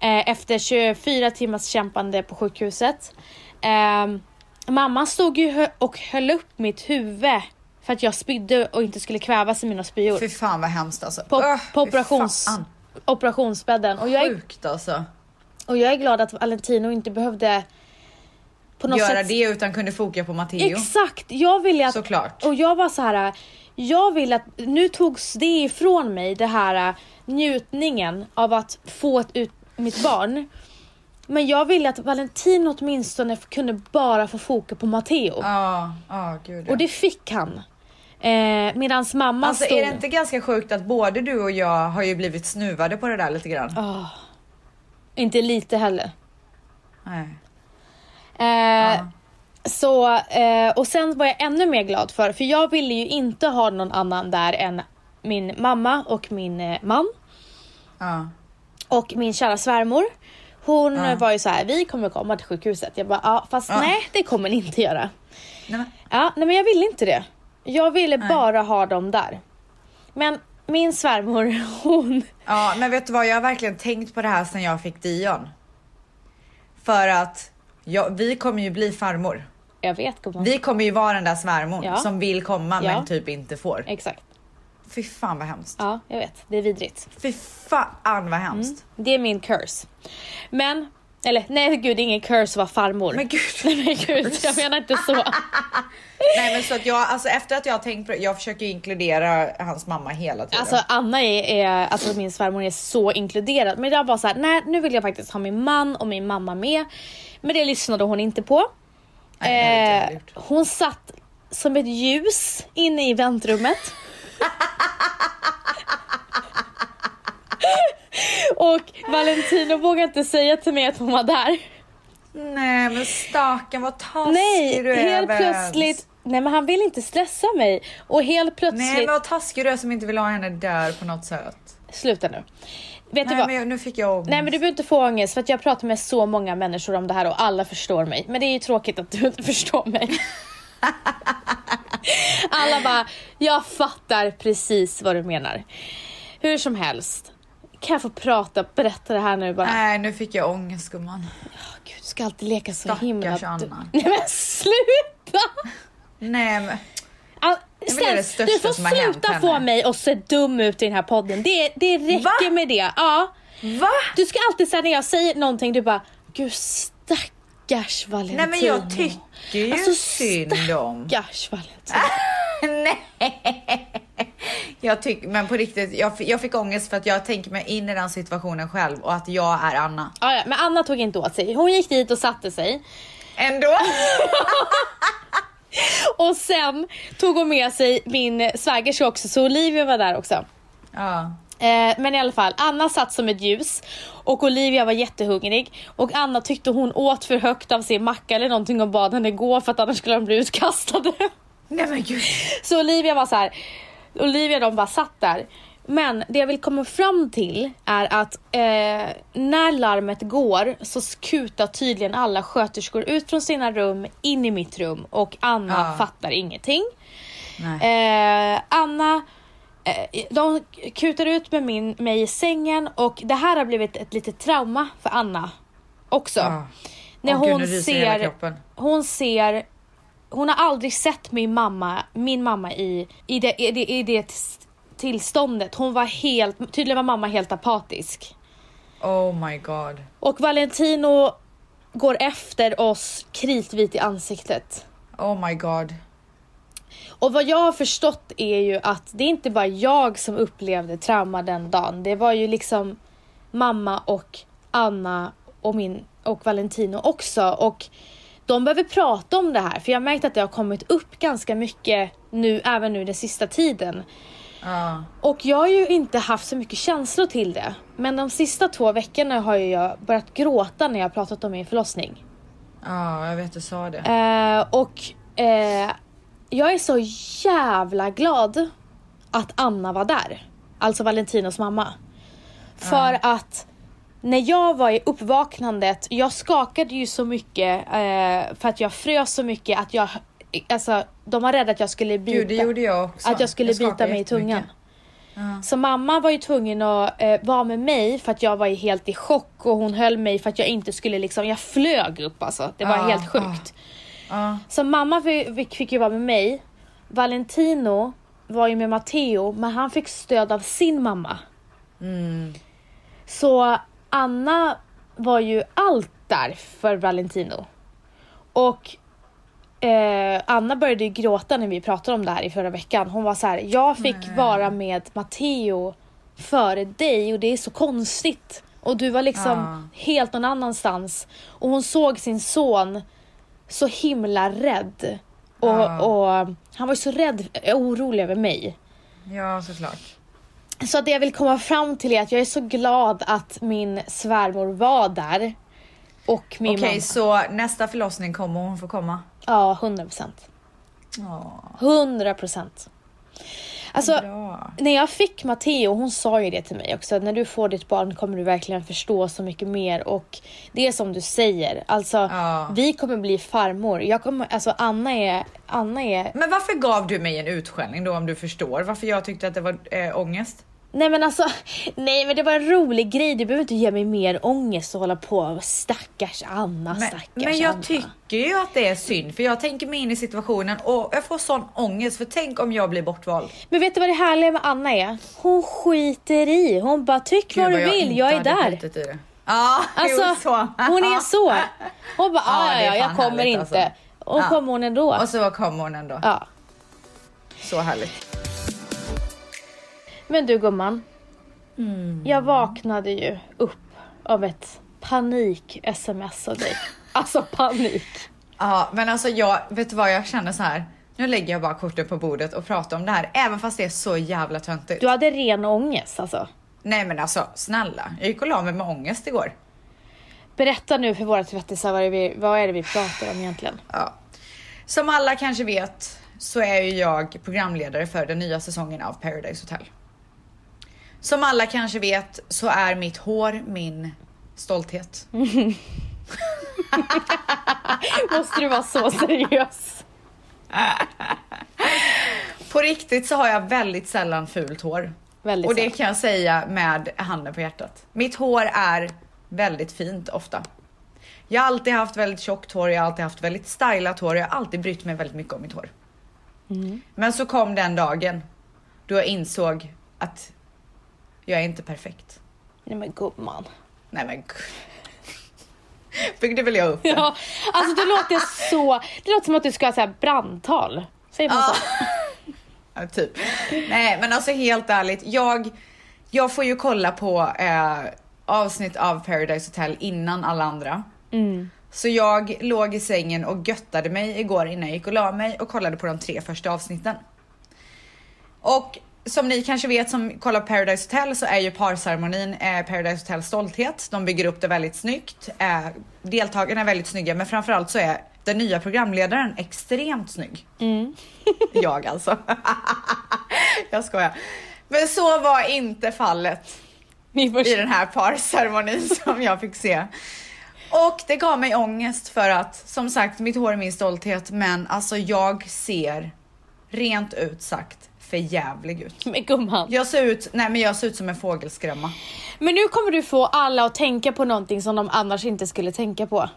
Speaker 1: Eh, efter 24 timmars kämpande på sjukhuset. Ehm, mamma stod ju hö- och höll upp mitt huvud för att jag spydde och inte skulle kvävas i mina spyor.
Speaker 2: Fy fan vad hemskt alltså.
Speaker 1: På,
Speaker 2: Öh,
Speaker 1: på
Speaker 2: fy
Speaker 1: operations,
Speaker 2: fan.
Speaker 1: operationsbädden. Och jag, är,
Speaker 2: Sjukt alltså.
Speaker 1: och jag är glad att Valentino inte behövde på något
Speaker 2: Göra
Speaker 1: sätt
Speaker 2: det utan kunde foka på Matteo.
Speaker 1: Exakt! Jag ville att...
Speaker 2: Såklart.
Speaker 1: Och jag var så här. Jag vill att, nu togs det ifrån mig, det här äh, njutningen av att få ett ut mitt barn. Men jag ville att Valentin åtminstone f- kunde bara få fokus på Matteo.
Speaker 2: Ja, ja gud. ja.
Speaker 1: Och det fick han. Eh, medans mamma
Speaker 2: Alltså
Speaker 1: stod...
Speaker 2: är det inte ganska sjukt att både du och jag har ju blivit snuvade på det där lite grann?
Speaker 1: Ah. inte lite heller.
Speaker 2: Nej.
Speaker 1: Eh, Så, eh, och sen var jag ännu mer glad för, för jag ville ju inte ha någon annan där än min mamma och min eh, man.
Speaker 2: Ja.
Speaker 1: Och min kära svärmor, hon
Speaker 2: Ah.
Speaker 1: var ju så här, vi kommer komma till sjukhuset. Jag bara, ja fast nej det kommer ni inte göra.
Speaker 2: Nej, men,
Speaker 1: Ja, nej men jag ville inte det. Jag ville bara ha dem där. Men min svärmor, hon...
Speaker 2: ja, men vet du vad? Jag har verkligen tänkt på det här sedan jag fick Dion. För att ja, vi kommer ju bli farmor.
Speaker 1: Jag vet gumman.
Speaker 2: Vi kommer ju vara den där svärmor
Speaker 1: Ja.
Speaker 2: som vill komma
Speaker 1: Ja.
Speaker 2: men typ inte får.
Speaker 1: Exakt.
Speaker 2: Fy fan vad hemskt.
Speaker 1: Ja, jag vet. Det är vidrigt. Mm.
Speaker 2: Fy fan vad hemskt.
Speaker 1: Det är min curse. Men, eller nej gud, ingen curse var farmor.
Speaker 2: Men gud.
Speaker 1: Nej men gud, jag menar inte så.
Speaker 2: Nej men så att jag, alltså efter att jag har tänkt på det, jag försöker ju inkludera hans mamma hela tiden.
Speaker 1: Alltså Anna är, är, alltså min svärmor är så inkluderad. Men jag bara så här, nej nu vill jag faktiskt ha min man och min mamma med. Men det lyssnade hon inte på.
Speaker 2: Nej, det hade inte jag
Speaker 1: Eh,
Speaker 2: gjort.
Speaker 1: hon satt som ett ljus inne i väntrummet. och Valentino vågade inte säga till mig att hon var där.
Speaker 2: Nej men staken vad taskig
Speaker 1: Nej,
Speaker 2: du är
Speaker 1: helt
Speaker 2: Vens.
Speaker 1: plötsligt. Nej men han vill inte stressa mig. Och helt plötsligt.
Speaker 2: Nej men vad taskig du är som inte vill ha henne där på något sätt.
Speaker 1: Sluta nu. Vet du
Speaker 2: Nej
Speaker 1: vad?
Speaker 2: men jag, nu fick jag ångest.
Speaker 1: Nej men du behöver inte få ångest för att jag pratar med så många människor om det här och alla förstår mig. Men det är ju tråkigt att du inte förstår mig. alla bara, jag fattar precis vad du menar. Hur som helst, kan jag få prata, berätta det här nu bara?
Speaker 2: Nej nu fick jag ångest gumman.
Speaker 1: Gud, du ska alltid leka så
Speaker 2: Stackars
Speaker 1: himla... Du...
Speaker 2: Anna.
Speaker 1: Nej men sluta!
Speaker 2: Nej men
Speaker 1: All...
Speaker 2: väl det
Speaker 1: Stens,
Speaker 2: största
Speaker 1: du får
Speaker 2: som har hänt
Speaker 1: sluta få
Speaker 2: henne.
Speaker 1: mig att se dum ut i den här podden. Det, det räcker
Speaker 2: Va?
Speaker 1: med det. Ja.
Speaker 2: va?
Speaker 1: Du ska alltid säga när jag säger någonting, du bara Gud stackars Stackars Valentino.
Speaker 2: Nej men jag tycker ju
Speaker 1: Alltså,
Speaker 2: synd om...
Speaker 1: Stackars Valentino.
Speaker 2: Jag tycker, men på riktigt, jag, fick- jag fick ångest för att jag tänker mig in i den situationen själv och att jag är Anna.
Speaker 1: Ah, ja, men Anna tog inte åt sig. Hon gick dit och satte sig.
Speaker 2: Ändå!
Speaker 1: Och sen tog hon med sig min svägerska också, så Olivia var där också.
Speaker 2: Ja.
Speaker 1: Eh, men i alla fall, Anna satt som ett ljus och Olivia var jättehungrig och Anna tyckte hon åt för högt av sin macka eller någonting och bad henne gå för att annars skulle de bli utkastade.
Speaker 2: Nej men gud.
Speaker 1: Så Olivia var så här, Olivia de bara satt där. Men det jag vill komma fram till är att eh, när larmet går så skutar tydligen alla sköterskor ut från sina rum in i mitt rum och Anna
Speaker 2: Ja.
Speaker 1: fattar ingenting.
Speaker 2: Nej.
Speaker 1: Eh, Anna, eh, de kutar ut med min, mig i sängen och det här har blivit ett litet trauma för Anna också.
Speaker 2: Ja.
Speaker 1: När
Speaker 2: Ah. Åh, gud,
Speaker 1: hon
Speaker 2: nu ryser hela
Speaker 1: ser,
Speaker 2: kroppen.
Speaker 1: hon ser, hon har aldrig sett min mamma, min mamma i, i, det, i, det, i det tills- tillståndet. Hon var helt, tydligen var mamma helt apatisk.
Speaker 2: Oh my god.
Speaker 1: Och Valentino går efter oss kritvit i ansiktet.
Speaker 2: Oh my god.
Speaker 1: Och vad jag har förstått är ju att det är inte bara jag som upplevde trauma den dagen. Det var ju liksom mamma och Anna och min och Valentino också. Och de behöver prata om det här för jag har märkt att det har kommit upp ganska mycket nu, även nu den sista tiden.
Speaker 2: Ja.
Speaker 1: Och jag har ju inte haft så mycket känslor till det. Men de sista två veckorna har ju jag börjat gråta när jag har pratat om min förlossning.
Speaker 2: Ja, jag vet du sa det.
Speaker 1: Eh, och eh, jag är så jävla glad att Anna var där. Alltså Valentinos mamma. För att när jag var i uppvaknandet, jag skakade ju så mycket eh, för att jag frös så mycket att jag, alltså de var rädda att jag skulle bita.
Speaker 2: Gud, det gjorde jag också.
Speaker 1: Att jag skulle bita
Speaker 2: skakade
Speaker 1: mig i tungan.
Speaker 2: jättemycket. Ja.
Speaker 1: Så mamma var ju tvungen att eh, vara med mig för att jag var ju helt i chock och hon höll mig för att jag inte skulle liksom, jag flög upp alltså. Det var
Speaker 2: Ja,
Speaker 1: helt
Speaker 2: ja.
Speaker 1: sjukt.
Speaker 2: Ja.
Speaker 1: Så mamma fick, fick ju vara med mig. Valentino var ju med Matteo, men han fick stöd av sin mamma.
Speaker 2: mm.
Speaker 1: Så Anna var ju allt där för Valentino. Och eh, Anna började ju gråta när vi pratade om det här i förra veckan. Hon var så här, jag fick vara med Matteo före dig och det är så konstigt. Och du var liksom
Speaker 2: Ja.
Speaker 1: helt någon annanstans. Och hon såg sin son så himla rädd. Och,
Speaker 2: Ja.
Speaker 1: och han var ju så rädd, eh, orolig över mig.
Speaker 2: ja, såklart.
Speaker 1: Så det jag vill komma fram till är att jag är så glad att min svärmor var där. Och min
Speaker 2: Okej,
Speaker 1: mamma.
Speaker 2: så nästa förlossning kommer hon få komma?
Speaker 1: Ja, 100 procent.
Speaker 2: Ja,
Speaker 1: 100 procent. Alltså,
Speaker 2: bra.
Speaker 1: när jag fick Matteo, hon sa ju det till mig också, att när du får ditt barn kommer du verkligen förstå så mycket mer och det är som du säger, alltså
Speaker 2: Ja.
Speaker 1: vi kommer bli farmor. Jag kommer, alltså Anna är, Anna är,
Speaker 2: Men varför gav du mig en utskällning då om du förstår varför jag tyckte att det var eh, ångest?
Speaker 1: nej men alltså, nej men det var en rolig grej, du behöver inte ge mig mer ångest och hålla på, och stackars Anna,
Speaker 2: Men,
Speaker 1: stackars
Speaker 2: men jag
Speaker 1: Anna.
Speaker 2: tycker ju att det är synd för jag tänker mig in i situationen och jag får sån ångest för tänk om jag blir bortvald.
Speaker 1: Men vet du vad det härliga med Anna är? Hon skiter i, hon bara tyck vad du
Speaker 2: Gud, vad
Speaker 1: vill,
Speaker 2: inte
Speaker 1: jag är
Speaker 2: hade
Speaker 1: där.
Speaker 2: skjutit i det. Ja,
Speaker 1: Alltså,
Speaker 2: jo, så.
Speaker 1: hon är så. Hon bara,
Speaker 2: Ja,
Speaker 1: ja,
Speaker 2: det är
Speaker 1: ja, jag
Speaker 2: fan
Speaker 1: kommer
Speaker 2: härligt,
Speaker 1: inte.
Speaker 2: alltså.
Speaker 1: Och
Speaker 2: Ja.
Speaker 1: kommer hon ändå.
Speaker 2: Och så kom hon ändå.
Speaker 1: Ja.
Speaker 2: Så härligt.
Speaker 1: Men du gumman. Jag vaknade ju upp av ett panik-sms av dig. Alltså panik.
Speaker 2: Ja, men alltså jag, vet du vad jag känner så här. Nu lägger jag bara korten på bordet och pratar om det här även fast det är så jävla töntigt.
Speaker 1: Du hade ren ångest alltså.
Speaker 2: Nej men alltså snälla, jag gick och la mig med ångest igår.
Speaker 1: Berätta nu för våra tvättisar vad, det är vi- vad är det vi pratar om egentligen.
Speaker 2: Ja. Som alla kanske vet så är ju jag programledare för den nya säsongen av Paradise Hotel. Som alla kanske vet så är mitt hår min stolthet.
Speaker 1: Måste du vara så seriös?
Speaker 2: På riktigt så har jag väldigt sällan fult hår.
Speaker 1: Väldigt
Speaker 2: och det
Speaker 1: sällan.
Speaker 2: kan jag säga med handen på hjärtat. Mitt hår är väldigt fint ofta. Jag har alltid haft väldigt tjockt hår, jag har alltid haft väldigt stylat hår, jag har alltid brytt mig väldigt mycket om mitt hår.
Speaker 1: Mm.
Speaker 2: Men så kom den dagen då jag insåg att jag är inte perfekt.
Speaker 1: Nej men gumman.
Speaker 2: Nej men gud. byggde väl jag upp.
Speaker 1: Ja, alltså det låter så... Det låter som att du ska ha så här brandtal. Säger man så?
Speaker 2: Ja, typ. Nej, men alltså helt ärligt. Jag, jag får ju kolla på eh, avsnitt av Paradise Hotel innan alla andra. Så jag låg i sängen och göttade mig igår innan jag gick och la mig och kollade på de tre första avsnitten. Och som ni kanske vet som kollar på Paradise Hotel så är ju parceremonin eh, Paradise Hotel stolthet. De bygger upp det väldigt snyggt. Eh, deltagarna är väldigt snygga men framförallt så är den nya programledaren extremt snygg. Jag alltså. jag skojar. Men så var inte fallet
Speaker 1: Min
Speaker 2: i
Speaker 1: första...
Speaker 2: den här parceremonin som jag fick se. Och det gav mig ångest för att som sagt mitt hår är min stolthet men alltså jag ser rent ut sagt för jävlig ut.
Speaker 1: Men gumman.
Speaker 2: Jag ser ut, nej men jag ser ut som en fågelskrämma.
Speaker 1: Men nu kommer du få alla att tänka på någonting som de annars inte skulle tänka på.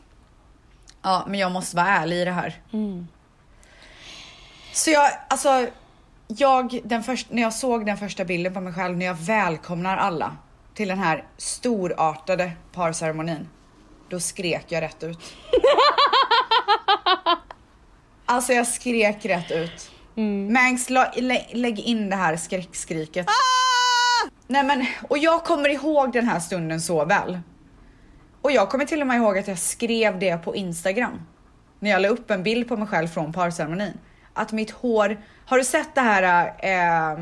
Speaker 2: Ja men jag måste vara ärlig i det här. Så jag, alltså jag, den först, när jag såg den första bilden på mig själv, när jag välkomnar alla till den här storartade parceremonin, då skrek jag rätt ut. alltså jag skrek rätt ut. Mm. Mangs, la, lä, lägg in det här skräckskriket. Nej men, och jag kommer ihåg den här stunden så väl. Och jag kommer till och med ihåg att jag skrev det på Instagram. När jag la upp en bild på mig själv från parceremonin. Att mitt hår, har du sett det här, eh,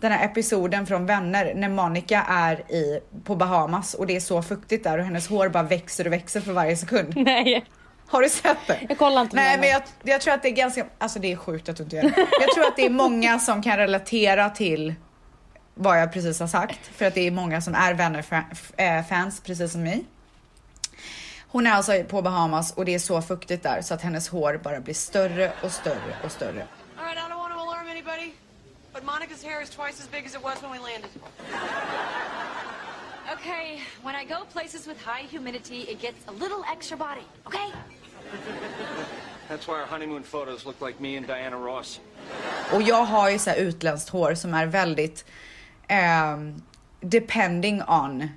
Speaker 2: den här episoden från Vänner när Monica är i, på Bahamas och det är så fuktigt där och hennes hår bara växer och växer för varje sekund.
Speaker 1: Nej.
Speaker 2: Har du sett det?
Speaker 1: Jag kollar inte på
Speaker 2: Nej
Speaker 1: Vänner.
Speaker 2: men jag, jag tror att det är ganska, alltså det är sjukt att du inte gör det. Jag tror att det är många som kan relatera till vad jag precis har sagt. För att det är många som är Vänner-fans eh, precis som mig. Hon är alltså på Bahamas och det är så fuktigt där så att hennes hår bara blir större och större och större.
Speaker 4: All right, I don't want to alarm anybody, but Monica's hair is twice as big as it was when we landed.
Speaker 5: Okay, when I go places with high humidity, it gets a little extra body, okay?
Speaker 6: That's why our honeymoon photos look like me and Diana Ross.
Speaker 2: Och jag har ju så här utländskt hår som är väldigt ehm, depending on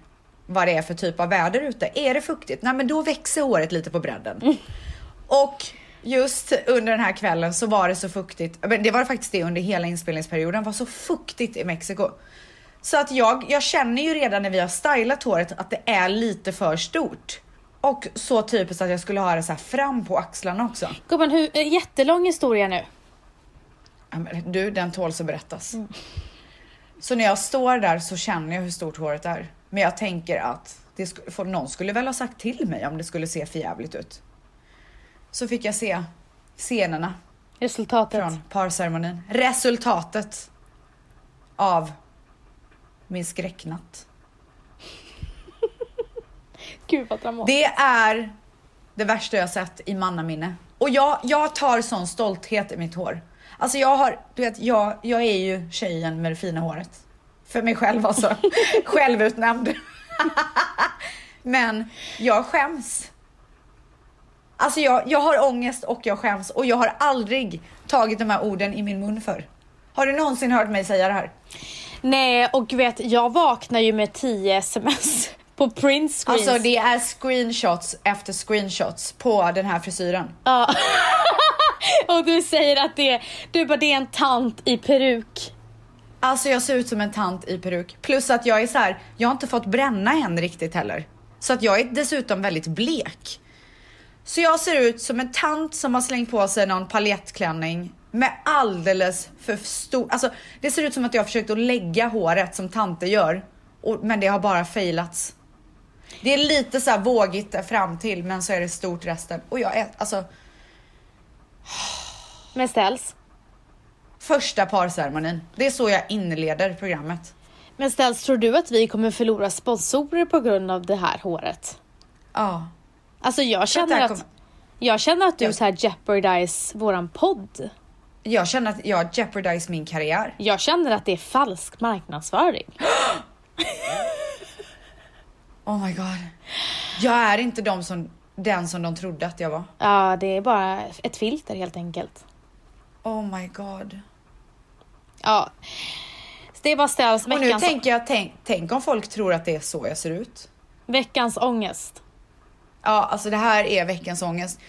Speaker 2: vad det är för typ av väder ute. Är det fuktigt? Nej men då växer håret lite på bredden. Och just under den här kvällen så var det så fuktigt. Men det var faktiskt det under hela inspelningsperioden. Det var så fuktigt i Mexiko. Så att jag, jag känner ju redan när vi har stylat håret att det är lite för stort. Och så typiskt att jag skulle ha det så här fram på axlarna också.
Speaker 1: Gumman, hur, eh, jättelång historia nu.
Speaker 2: Ja, men Du, den tåls att berättas. Så när jag står där så känner jag hur stort håret är. Men jag tänker att det sk- för någon skulle väl ha sagt till mig om det skulle se för jävligt ut. Så fick jag se scenerna
Speaker 1: Resultatet.
Speaker 2: från parceremonin. Resultatet av min skräcknatt.
Speaker 1: Gud vad dramatiskt.
Speaker 2: Det är det värsta jag sett i mannaminne. Och jag, jag tar sån stolthet i mitt hår. Alltså jag har, du vet, jag, jag är ju tjejen med det fina håret. För mig själv alltså. Självutnämnd. Men jag skäms. Alltså jag, jag har ångest och jag skäms och jag har aldrig tagit de här orden i min mun förr. Har du någonsin hört mig säga det här?
Speaker 1: Nej, och vet, jag vaknar ju med 10 sms på print screens.
Speaker 2: Alltså det är screenshots efter screenshots på den här frisyren.
Speaker 1: Och du säger att det, du bara, det är en tant i peruk.
Speaker 2: Alltså jag ser ut som en tant i peruk. Plus att jag är så här, jag har inte fått bränna än riktigt heller. Så att jag är dessutom väldigt blek. Så jag ser ut som en tant som har slängt på sig någon paljettklänning med alldeles för stor, alltså det ser ut som att jag har försökt att lägga håret som tanter gör. Och, men det har bara failats. Det är lite så här vågigt där fram till men så är det stort resten. Och jag är, alltså
Speaker 1: Men ställs.
Speaker 2: första parceremonin. Det är så jag inleder programmet.
Speaker 1: Men ställs, tror du att vi kommer förlora sponsorer på grund av det här håret?
Speaker 2: Ja.
Speaker 1: Alltså jag
Speaker 2: att det
Speaker 1: känner
Speaker 2: här
Speaker 1: att,
Speaker 2: kommer-
Speaker 1: jag känner att du
Speaker 2: Ja.
Speaker 1: så här jeopardize våran podd.
Speaker 2: Jag känner att jag jeopardize min karriär.
Speaker 1: Jag känner att det är falsk marknadsföring.
Speaker 2: Oh my god. Jag är inte de som, den som de trodde att jag var.
Speaker 1: Ja, det är bara ett filter helt enkelt.
Speaker 2: Oh my god.
Speaker 1: Ja. Så det var ställs
Speaker 2: Och nu
Speaker 1: veckans,
Speaker 2: tänker jag, tänk, tänk om folk tror att det är så jag ser ut.
Speaker 1: veckans ångest.
Speaker 2: Ja, alltså det här är veckans ångest.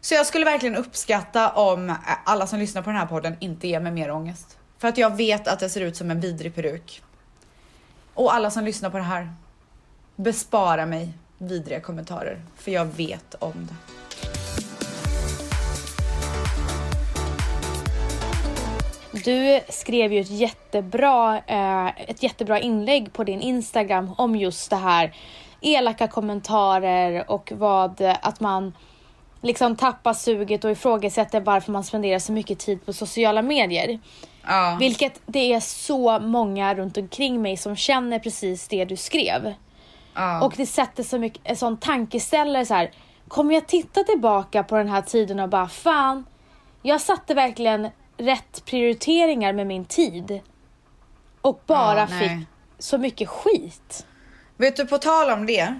Speaker 2: Så jag skulle verkligen uppskatta om alla som lyssnar på den här podden inte ger mig mer ångest. För att jag vet att jag ser ut som en vidrig peruk. Och alla som lyssnar på det här, bespara mig vidriga kommentarer. För jag vet om det.
Speaker 1: Du skrev ju ett jättebra, eh, ett jättebra inlägg på din Instagram om just det här elaka kommentarer och vad eh, att man liksom tappar suget och ifrågasätter varför man spenderar så mycket tid på sociala medier.
Speaker 2: Ja.
Speaker 1: Vilket det är så många runt omkring mig som känner precis det du skrev.
Speaker 2: Ja.
Speaker 1: Och det sätter så mycket, en sån tankeställare så här. Kommer jag titta tillbaka på den här tiden och bara fan, jag satte verkligen rätt prioriteringar med min tid. Och bara
Speaker 2: Ja, nej.
Speaker 1: fick så mycket skit.
Speaker 2: Vet du, på tal om det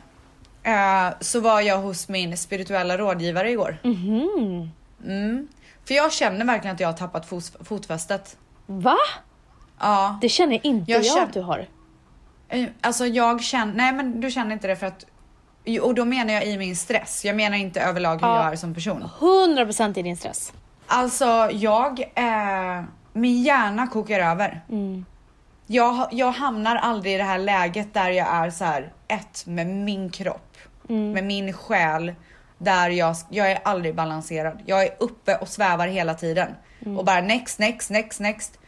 Speaker 2: eh, så var jag hos min spirituella rådgivare igår. Mm. För jag känner verkligen att jag har tappat fos- fotfästet.
Speaker 1: Va?
Speaker 2: Ja,
Speaker 1: Det känner inte jag,
Speaker 2: Jag känner-
Speaker 1: att du har.
Speaker 2: eh, alltså jag känner, nej men du känner inte det för att, jo, och då menar jag i min stress. Jag menar inte överlag hur
Speaker 1: Ja.
Speaker 2: jag är som person.
Speaker 1: 100% i din stress.
Speaker 2: Alltså jag, eh, min hjärna kokar över. Jag, jag hamnar aldrig i det här läget där jag är så här ett med min kropp, med min själ. Där jag, jag är aldrig balanserad. Jag är uppe och svävar hela tiden. Och bara next, next, next, next.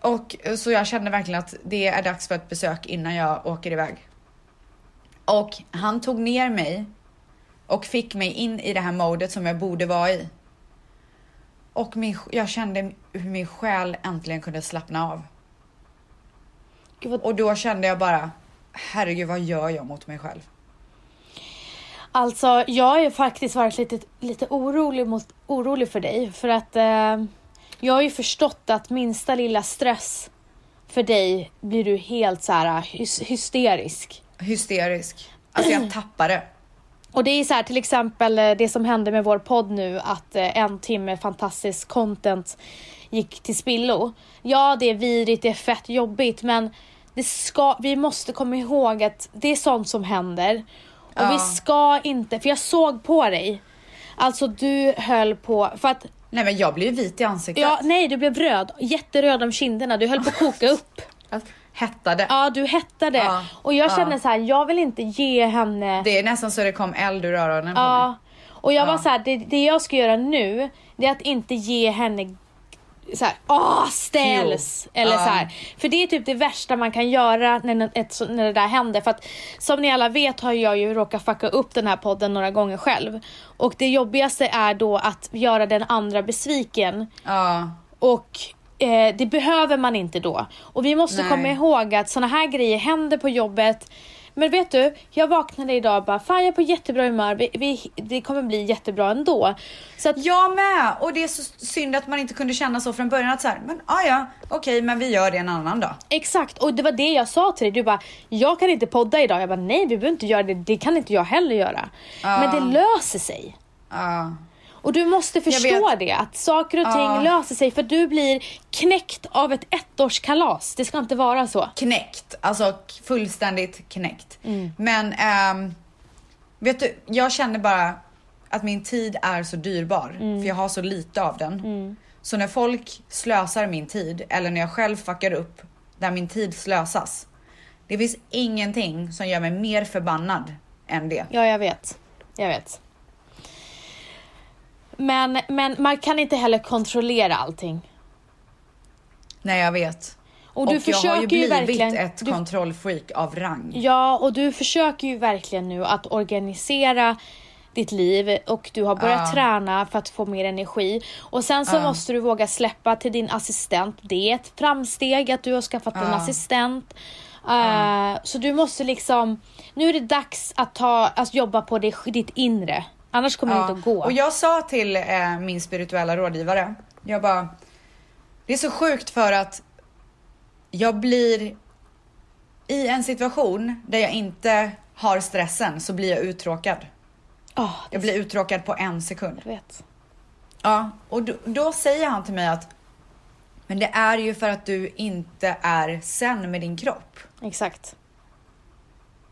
Speaker 2: Och eh, så jag kände verkligen att det är dags för ett besök innan jag åker iväg. Och han tog ner mig och fick mig in i det här modet som jag borde vara i. Och min, jag kände hur min själ äntligen kunde slappna av.
Speaker 1: Gud, vad-
Speaker 2: Och då kände jag bara, herregud vad gör jag mot mig själv?
Speaker 1: Alltså jag har ju faktiskt varit lite, lite orolig, mot, orolig för dig för att eh, jag har ju förstått att minsta lilla stress för dig blir du helt så här hys- hysterisk.
Speaker 2: Hysterisk. Alltså jag tappade.
Speaker 1: Och det är så här till exempel eh, det som hände med vår podd nu att eh, en timme fantastisk content gick till spillo. Ja, det är vidrigt, det är fett jobbigt men det ska, vi måste komma ihåg att det är sånt som händer. Och vi
Speaker 2: Ja.
Speaker 1: ska inte, för jag såg på dig, alltså du höll på, för att
Speaker 2: Nej men jag blev vit i ansiktet.
Speaker 1: Ja, nej du blev röd, jätteröd om kinderna, du höll på att koka upp.
Speaker 2: Alltså, Hettade.
Speaker 1: Ja, du hettade.
Speaker 2: Ja,
Speaker 1: Och jag
Speaker 2: ja.
Speaker 1: kände så här, jag vill inte ge henne
Speaker 2: Det är nästan så det kom eld ur öronen på mig.
Speaker 1: Ja. Och jag var så här, det, det jag ska göra nu, det är att inte ge henne så här, åh ställs!
Speaker 2: Jo.
Speaker 1: Eller
Speaker 2: Ja.
Speaker 1: så här. För det är typ det värsta man kan göra när, nå- ett, så- när det där händer. För att som ni alla vet har jag ju råkat fucka upp den här podden några gånger själv. Och det jobbigaste är då att göra den andra besviken.
Speaker 2: Ja.
Speaker 1: Och eh, det behöver man inte då. Och vi måste
Speaker 2: Nej.
Speaker 1: komma ihåg att såna här grejer händer på jobbet. Men vet du, jag vaknade idag och bara fan jag är på jättebra humör, vi, vi, det kommer bli jättebra ändå. Så att,
Speaker 2: Jag med! Och det är så synd att man inte kunde känna så från början att så här, men ah, ja, okej men vi gör det en annan dag.
Speaker 1: exakt, och det var det jag sa till dig, du bara jag kan inte podda idag. Jag bara nej vi behöver inte göra det, det kan inte jag heller göra. Men det löser sig.
Speaker 2: Ja.
Speaker 1: Och du måste förstå
Speaker 2: vet.
Speaker 1: det, att saker och ting
Speaker 2: Ja.
Speaker 1: löser sig för du blir knäckt av ett ettårskalas. Det ska inte vara så.
Speaker 2: knäckt, alltså k- fullständigt knäckt.
Speaker 1: Mm.
Speaker 2: Men ehm, vet du, jag känner bara att min tid är så dyrbar
Speaker 1: Mm.
Speaker 2: för jag har så lite av den. Så när folk slösar min tid eller när jag själv fuckar upp där min tid slösas. Det finns ingenting som gör mig mer förbannad än det.
Speaker 1: Ja, jag vet. Jag vet. Men, men man kan inte heller kontrollera allting.
Speaker 2: Nej jag vet.
Speaker 1: Och du
Speaker 2: jag har ju
Speaker 1: försöker ju
Speaker 2: blivit
Speaker 1: verkligen...
Speaker 2: ett
Speaker 1: du,
Speaker 2: kontrollfreak av rang.
Speaker 1: ja, och du försöker ju verkligen nu att organisera ditt liv och du har börjat
Speaker 2: Ja.
Speaker 1: träna för att få mer energi. Och sen
Speaker 2: Ah.
Speaker 1: så måste du våga släppa till din assistent. Det är ett framsteg att du har skaffat en
Speaker 2: Ah.
Speaker 1: assistent. Eh, Så du måste liksom... Nu är det dags att, ta, att jobba på det, ditt inre. Annars kommer det
Speaker 2: Ja,
Speaker 1: inte att gå.
Speaker 2: Ah. Och jag sa till eh, min spirituella rådgivare, jag bara, det är så sjukt för att jag blir i en situation där jag inte har stressen så blir jag uttråkad.
Speaker 1: Ah,
Speaker 2: Jag blir uttråkad på en sekund.
Speaker 1: Jag vet.
Speaker 2: Ja, och då, då säger han till mig att men det är ju för att du inte är sen med din kropp.
Speaker 1: Exakt.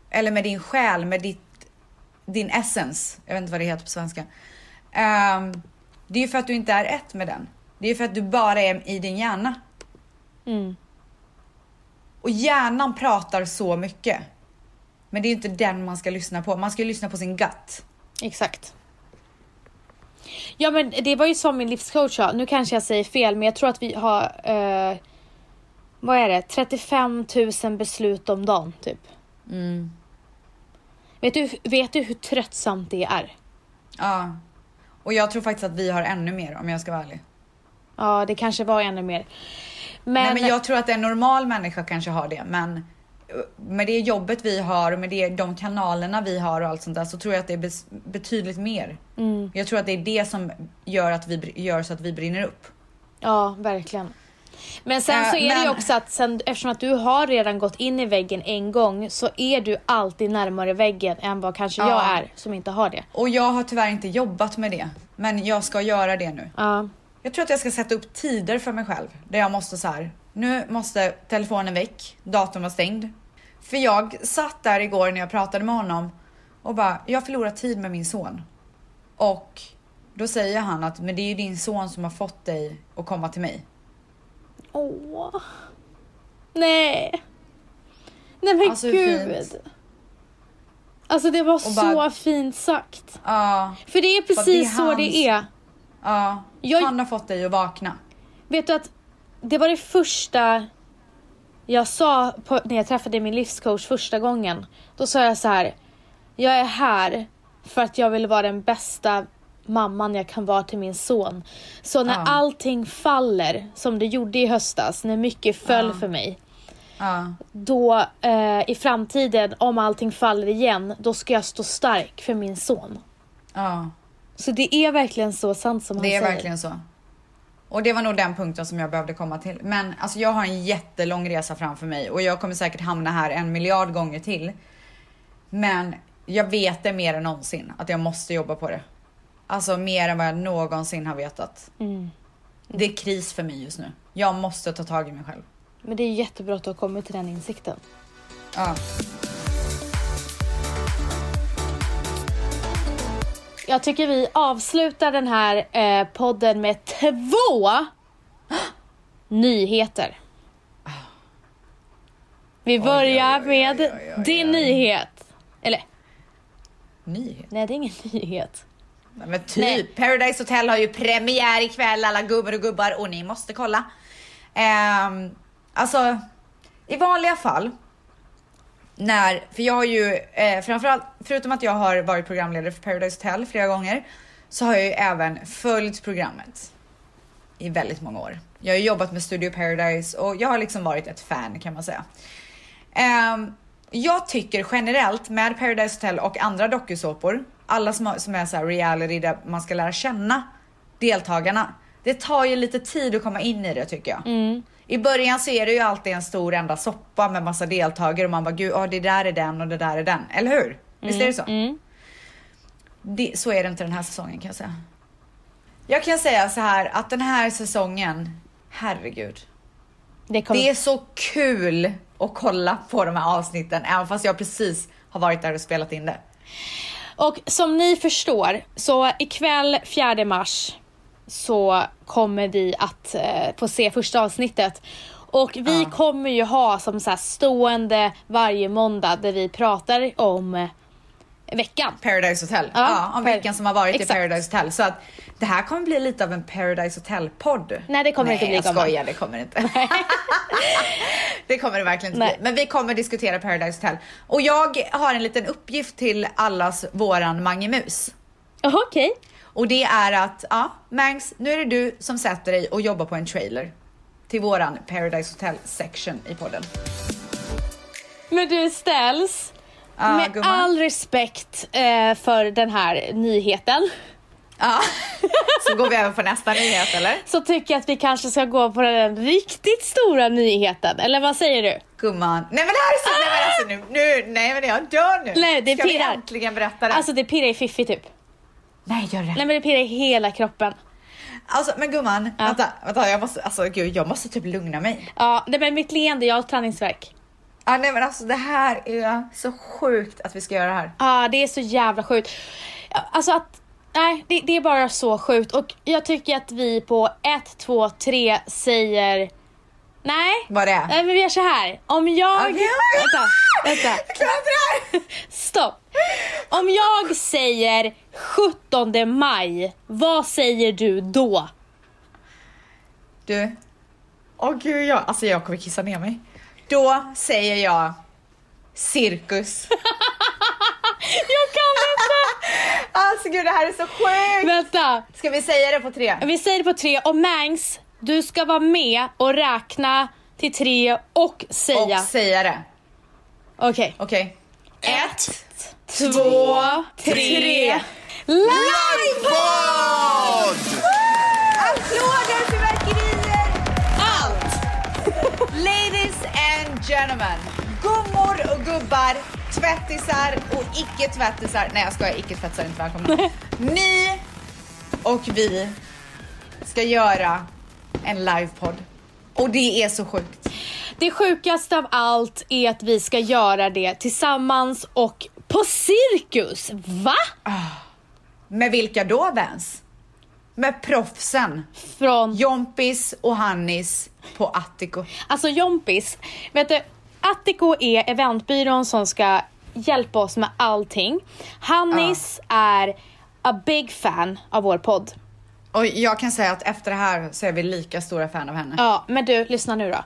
Speaker 2: Eller med din själ, med ditt din essence, jag vet inte vad det heter på svenska. Ehm, det är ju för att du inte är ett med den. Det är ju för att du bara är i din hjärna. Och hjärnan pratar så mycket. Men det är ju inte den man ska lyssna på. Man ska ju lyssna på sin gut.
Speaker 1: Exakt. Ja men det var ju som min livscoach sa, nu kanske jag säger fel men jag tror att vi har, eh, vad är det, 35 000 beslut om dagen typ.
Speaker 2: Mm.
Speaker 1: Vet, du, vet du hur tröttsamt det är?
Speaker 2: Ja. Och jag tror faktiskt att vi har ännu mer om jag ska vara ärlig.
Speaker 1: Ja det kanske var ännu mer. Men,
Speaker 2: Nej, men jag tror att en normal människa kanske har det men eh, med det jobbet vi har och med det, de kanalerna vi har och allt sånt där så tror jag att det är bes- betydligt mer. Jag tror att det är det som gör, att vi, br- gör så att vi brinner upp.
Speaker 1: ja verkligen. Men sen
Speaker 2: Eh,
Speaker 1: så är det ju
Speaker 2: men-
Speaker 1: också att sen, eftersom att du har redan gått in i väggen en gång så är du alltid närmare väggen än vad kanske jag
Speaker 2: Ja.
Speaker 1: är som inte har det.
Speaker 2: Och jag har tyvärr inte jobbat med det men jag ska göra det nu.
Speaker 1: Ja.
Speaker 2: Jag tror att jag ska sätta upp tider för mig själv där jag måste så här. Nu måste telefonen väck, datorn var stängd. För jag satt där igår när jag pratade med honom och bara, jag förlorar tid med min son. Och då säger han att, men det är ju din son som har fått dig att komma till mig.
Speaker 1: Åh. Nej. Nej men
Speaker 2: Alltså, hur
Speaker 1: gud.
Speaker 2: fint.
Speaker 1: Alltså det var så
Speaker 2: bara-
Speaker 1: fint sagt.
Speaker 2: Ja,
Speaker 1: För det är precis
Speaker 2: det är
Speaker 1: så
Speaker 2: hans-
Speaker 1: det är.
Speaker 2: ja.
Speaker 1: Jag-
Speaker 2: Han har fått dig att vakna.
Speaker 1: Vet du att det var det första jag sa på, när jag träffade min livscoach första gången. Då sa jag så här. Jag är här för att jag vill vara den bästa mamman jag kan vara till min son. Så när
Speaker 2: Ja.
Speaker 1: allting faller, som det gjorde i höstas, när mycket föll för mig.
Speaker 2: Ja,
Speaker 1: då eh, i framtiden, om allting faller igen, då ska jag stå stark för min son.
Speaker 2: ja.
Speaker 1: Så det är verkligen så sant som han
Speaker 2: Det är
Speaker 1: säger.
Speaker 2: verkligen så. Och det var nog den punkten som jag behövde komma till. Men alltså jag har en jättelång resa framför mig och jag kommer säkert hamna här en miljard gånger till. Men jag vet det mer än någonsin att jag måste jobba på det. Alltså mer än vad jag någonsin har vetat. Det är kris för mig just nu. Jag måste ta tag i mig själv.
Speaker 1: Men det är jättebra att du har kommit till den insikten.
Speaker 2: Ja.
Speaker 1: Jag tycker vi avslutar den här eh, podden med två nyheter. Vi börjar med din nyhet. Eller,
Speaker 2: Nyhet.
Speaker 1: nej det är ingen nyhet.
Speaker 2: Nej, Men typ.
Speaker 1: Nej.
Speaker 2: Paradise Hotel har ju premiär ikväll alla gubbor och gubbar och ni måste kolla. Ehm, alltså, i vanliga fall när, för jag har ju eh, framförallt, förutom att jag har varit programledare för Paradise Hotel flera gånger så har jag ju även följt programmet i väldigt många år. Jag har ju jobbat med Studio Paradise och jag har liksom varit ett fan kan man säga. Ehm, jag tycker generellt med Paradise Hotel och andra dokusåpor, alla som, har- som är så här reality där man ska lära känna deltagarna. Det tar ju lite tid att komma in i det tycker jag. I början så är det ju alltid en stor enda soppa med massa deltagare och man bara gud, ja det där är den och det där är den. Eller hur? Visst är det så? Det, så är det inte den här säsongen kan jag säga. Jag kan säga så här att den här säsongen, herregud.
Speaker 1: Det kommer...
Speaker 2: Det är så kul att kolla på de här avsnitten även fast jag precis har varit där och spelat in det.
Speaker 1: Och som ni förstår, så ikväll 4 mars så kommer vi att eh, få se första avsnittet. Och vi kommer ju ha som så här stående varje måndag där vi pratar om eh, veckan.
Speaker 2: Paradise Hotel.
Speaker 1: Ja,
Speaker 2: Ja, om
Speaker 1: per-
Speaker 2: veckan som har varit
Speaker 1: exakt.
Speaker 2: i Paradise Hotel. Så att det här kommer bli lite av en Paradise Hotel-podd.
Speaker 1: Nej, det kommer det inte bli,
Speaker 2: Nej, jag
Speaker 1: gumman.
Speaker 2: skojar, det kommer det inte. det kommer det verkligen inte
Speaker 1: Nej.
Speaker 2: bli. Men vi kommer diskutera Paradise Hotel. Och jag har en liten uppgift till allas våran Mange Mus.
Speaker 1: Jaha, Okej.
Speaker 2: Och det är att, ja, Mangs, nu är det du som sätter dig och jobbar på en trailer till våran Paradise Hotel section i podden.
Speaker 1: Men du ställs
Speaker 2: Ja,
Speaker 1: med
Speaker 2: gumman.
Speaker 1: all respekt eh, för den här nyheten.
Speaker 2: Ja. Så går vi över på nästa nyhet eller?
Speaker 1: Så tycker jag att vi kanske ska gå på den riktigt stora nyheten. Eller vad säger du?
Speaker 2: Gumman. Nej men det här är så, nej men alltså nu, nu, nej men jag dör nu.
Speaker 1: Nej, det
Speaker 2: Ska
Speaker 1: pirrar.
Speaker 2: vi äntligen berätta det?
Speaker 1: Alltså det pirrar i fiffi typ.
Speaker 2: nej gör det.
Speaker 1: Nej men det pirrar i hela kroppen.
Speaker 2: Alltså men gumman, vänta, vänta jag måste, alltså gud jag måste typ lugna mig.
Speaker 1: Ja, nej men mitt leende, jag har träningsvärk.
Speaker 2: Ja, nej men alltså det här är så sjukt att vi ska göra det här.
Speaker 1: Ja, det är så jävla sjukt. Alltså att, nej, det, det är bara så sjukt. Och jag tycker att vi på 1, 2, 3 säger nej.
Speaker 2: Vad det är.
Speaker 1: Nej, men vi gör så här. Om jag...
Speaker 2: Okej.
Speaker 1: Eh, Vänta, vänta.
Speaker 2: Jag klarar inte det här!
Speaker 1: Stopp. Om jag säger 17 maj, vad säger du då?
Speaker 2: Du. Åh gud, jag, alltså jag kommer kissa ner mig. Då säger jag cirkus.
Speaker 1: Jag kan inte!
Speaker 2: Alltså gud, det här är så sjukt!
Speaker 1: vänta.
Speaker 2: Ska vi säga det på tre?
Speaker 1: Vi säger det på tre och Mangs, du ska vara med och räkna till tre och säga.
Speaker 2: Och säga det.
Speaker 1: Okej.
Speaker 2: Okej.
Speaker 1: Ett, två, tre. Live!
Speaker 2: Applåder, fyrverkerier, allt! Ladies and gentlemen, gummor och gubbar, tvättisar och icke-tvättisar. Nej jag skojar, icke-tvättisar är inte välkomna. Ni och vi ska göra en livepodd. Och det är så sjukt.
Speaker 1: Det sjukaste av allt är att vi ska göra det tillsammans och på cirkus. Va?
Speaker 2: Med vilka då Vans? Med proffsen.
Speaker 1: Från
Speaker 2: Jompis och Hannis på Attico.
Speaker 1: Alltså Jompis, vet du, Attico är eventbyrån som ska hjälpa oss med allting. Hannis är a big fan av vår podd.
Speaker 2: Och jag kan säga att efter det här så är vi lika stora fan av henne.
Speaker 1: Ja, men du, lyssna nu då.
Speaker 2: nu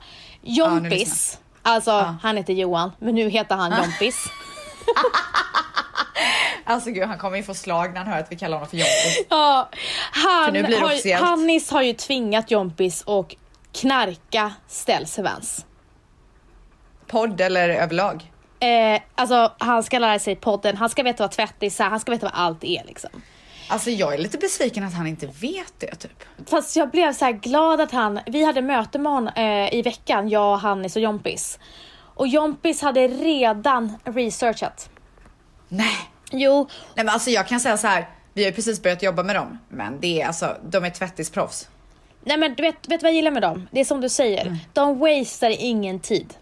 Speaker 1: Jompis,
Speaker 2: lyssnar
Speaker 1: alltså han heter Johan, men nu heter han Jompis.
Speaker 2: Alltså gud, han kommer ju få slag när han hör att vi kallar honom för Jonte.
Speaker 1: Ja,
Speaker 2: För
Speaker 1: han
Speaker 2: nu blir det
Speaker 1: har ju,
Speaker 2: officiellt.
Speaker 1: Hannis har ju tvingat Jompis och knarka Ställs Events.
Speaker 2: Podd eller överlag?
Speaker 1: Eh, alltså han ska lära sig podden, han ska veta vad tvättis är, han ska veta vad allt är liksom.
Speaker 2: Alltså jag är lite besviken att han inte vet det typ.
Speaker 1: Fast jag blev så här glad att han, vi hade möte med honom eh, i veckan, jag, Hannis och Jompis. Och Jompis hade redan researchat.
Speaker 2: Nej.
Speaker 1: Jo,
Speaker 2: Nej men alltså jag kan säga så här. vi har ju precis börjat jobba med dem. Men det är alltså, de är tvättisproffs.
Speaker 1: nej men du vet, vet du vad jag gillar med dem? Det är som du säger, de wastar ingen tid.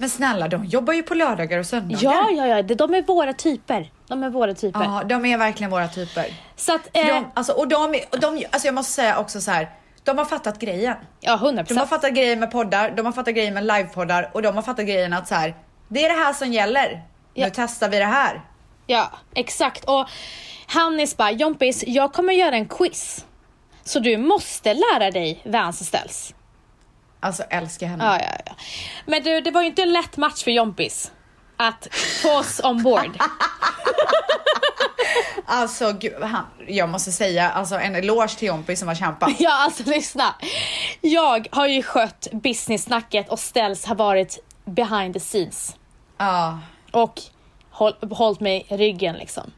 Speaker 2: Men snälla, de jobbar ju på lördagar och söndagar.
Speaker 1: Ja, ja, ja, de- de är våra typer. De är våra typer.
Speaker 2: Ja, de är verkligen våra typer.
Speaker 1: Så att,
Speaker 2: För
Speaker 1: eh,
Speaker 2: De, alltså, och de, är- och de, alltså jag måste säga också så här. de har fattat grejen.
Speaker 1: ja 100
Speaker 2: De har fattat grejen med poddar, de har fattat grejen med livepoddar och de har fattat grejen att så här, det är det här som gäller.
Speaker 1: Ja.
Speaker 2: Nu testar vi det här.
Speaker 1: Ja, exakt. Och Hannis bara, Jompis, jag kommer göra en quiz. Så du måste lära dig Vans och Ställs.
Speaker 2: Alltså älskar henne.
Speaker 1: Ja, ja, ja. Men du, det var ju inte en lätt match för Jompis att få oss ombord.
Speaker 2: Alltså gud, han, jag måste säga alltså en eloge till Jompi som har kämpat.
Speaker 1: Ja, alltså lyssna. Jag har ju skött business-snacket och Ställs har varit behind the scenes.
Speaker 2: Ja,
Speaker 1: Och håll, hållit mig i ryggen liksom.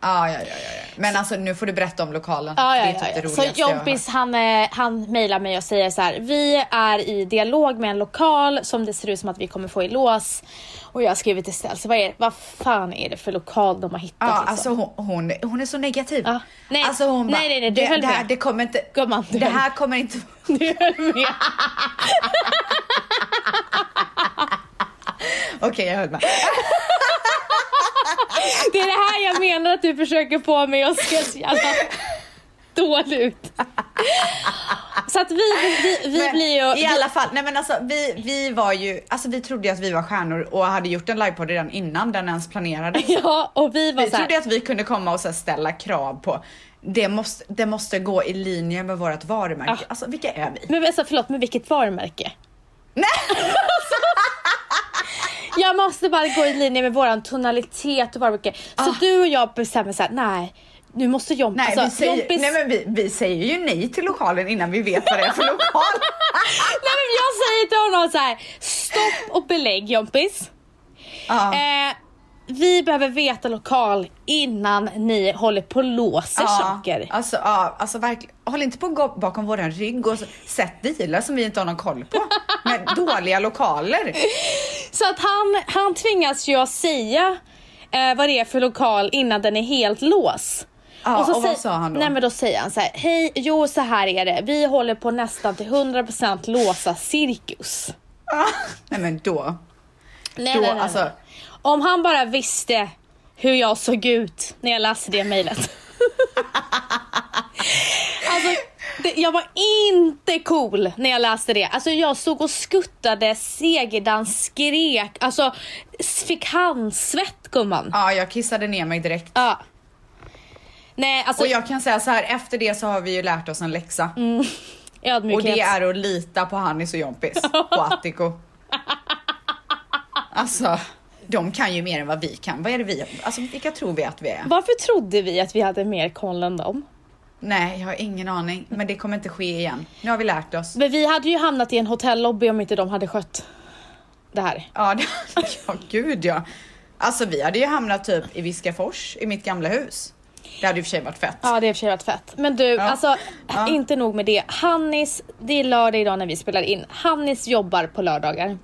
Speaker 2: ja, ja, ja, ja. ja. Men alltså nu får du berätta om lokalen.
Speaker 1: Ja,
Speaker 2: det
Speaker 1: ja,
Speaker 2: är typ
Speaker 1: ja,
Speaker 2: det
Speaker 1: ja. Så
Speaker 2: roligaste jag har hört.
Speaker 1: Jompis han, eh, han mejlar mig och säger så här. Vi är i dialog med en lokal som det ser ut som att vi kommer få i lås. Och jag har skrivit till Ställs. Vad, är det- vad fan är det för lokal de har hittat?
Speaker 2: Ja,
Speaker 1: liksom?
Speaker 2: alltså hon, hon, hon är så negativ.
Speaker 1: Ja. Nej,
Speaker 2: alltså hon
Speaker 1: nej,
Speaker 2: bara,
Speaker 1: nej, nej, du
Speaker 2: det,
Speaker 1: höll
Speaker 2: det här,
Speaker 1: med.
Speaker 2: det kommer inte,
Speaker 1: Gumman, du
Speaker 2: det
Speaker 1: höll-
Speaker 2: här kommer inte,
Speaker 1: Du höll med.
Speaker 2: okej jag höll med.
Speaker 1: Det är det här jag menar att du försöker få mig att se så jävla dålig ut. Så att vi, vi, vi
Speaker 2: Men
Speaker 1: blir ju...
Speaker 2: I alla fall, nej men alltså vi, vi var ju, alltså vi trodde ju att vi var stjärnor och hade gjort en livepodd redan innan den ens planerades.
Speaker 1: Ja, och vi var
Speaker 2: Vi
Speaker 1: så här,
Speaker 2: trodde att vi kunde komma och så här ställa krav på det måste, det måste gå i linje med vårt varumärke.
Speaker 1: Ah.
Speaker 2: Alltså vilka är vi?
Speaker 1: Men alltså, förlåt, men vilket varumärke? Nej! jag måste bara gå i linje med våran tonalitet och varumärke. Så du och jag bestämmer såhär, nej, nu måste Jomp...
Speaker 2: Ah. Nej,
Speaker 1: alltså,
Speaker 2: vi, säger,
Speaker 1: Jompis...
Speaker 2: nej men vi, vi säger ju nej till lokalen innan vi vet vad det är för lokal.
Speaker 1: nej men jag säger till honom så här: stopp och belägg Jompis.
Speaker 2: Ja.
Speaker 1: Eh, vi behöver veta lokal innan ni håller på och låser saker.
Speaker 2: Alltså, ja, alltså verkligen. Håll inte på att gå bakom våran rygg och sätt dealar som vi inte har någon koll på. Med dåliga lokaler.
Speaker 1: Så att han, han tvingas ju att säga eh, vad det är för lokal innan den är helt lås.
Speaker 2: Ja,
Speaker 1: så
Speaker 2: och vad
Speaker 1: säger-
Speaker 2: sa han då?
Speaker 1: Nej men då säger han så här, hej, jo så här är det, vi håller på nästan till 100% låsa cirkus.
Speaker 2: Nej men då.
Speaker 1: Nej,
Speaker 2: Då,
Speaker 1: nej, nej,
Speaker 2: alltså-
Speaker 1: nej. Om han bara visste hur jag såg ut när jag läste det mejlet. alltså, det, jag var inte cool när jag läste det. Alltså jag stod och skuttade, segerdans, skrek, alltså s- fick handsvett gumman.
Speaker 2: Ja, jag kissade ner mig direkt.
Speaker 1: Ja. Nej, alltså
Speaker 2: Och jag kan säga så här, efter det så har vi ju lärt oss en läxa. och
Speaker 1: ödmjukhet.
Speaker 2: det är att lita på Hannis och Jompis och Attiko. Alltså, de kan ju mer än vad vi kan. Vad är det vi, alltså vilka tror vi att vi är?
Speaker 1: Varför trodde vi att vi hade mer koll än dem?
Speaker 2: Nej, jag har ingen aning. Men det kommer inte ske igen. Nu har vi lärt oss.
Speaker 1: Men vi hade ju hamnat i en hotellobby om inte de hade skött det här.
Speaker 2: Ja, det, ja gud ja. Alltså vi hade ju hamnat typ i Viskafors, i mitt gamla hus. Det hade i och för sig varit fett.
Speaker 1: Ja det är i och för sig varit fett. Men du, alltså
Speaker 2: Ja.
Speaker 1: inte nog med det. Hannis, det är lördag idag när vi spelar in. Hannis jobbar på lördagar.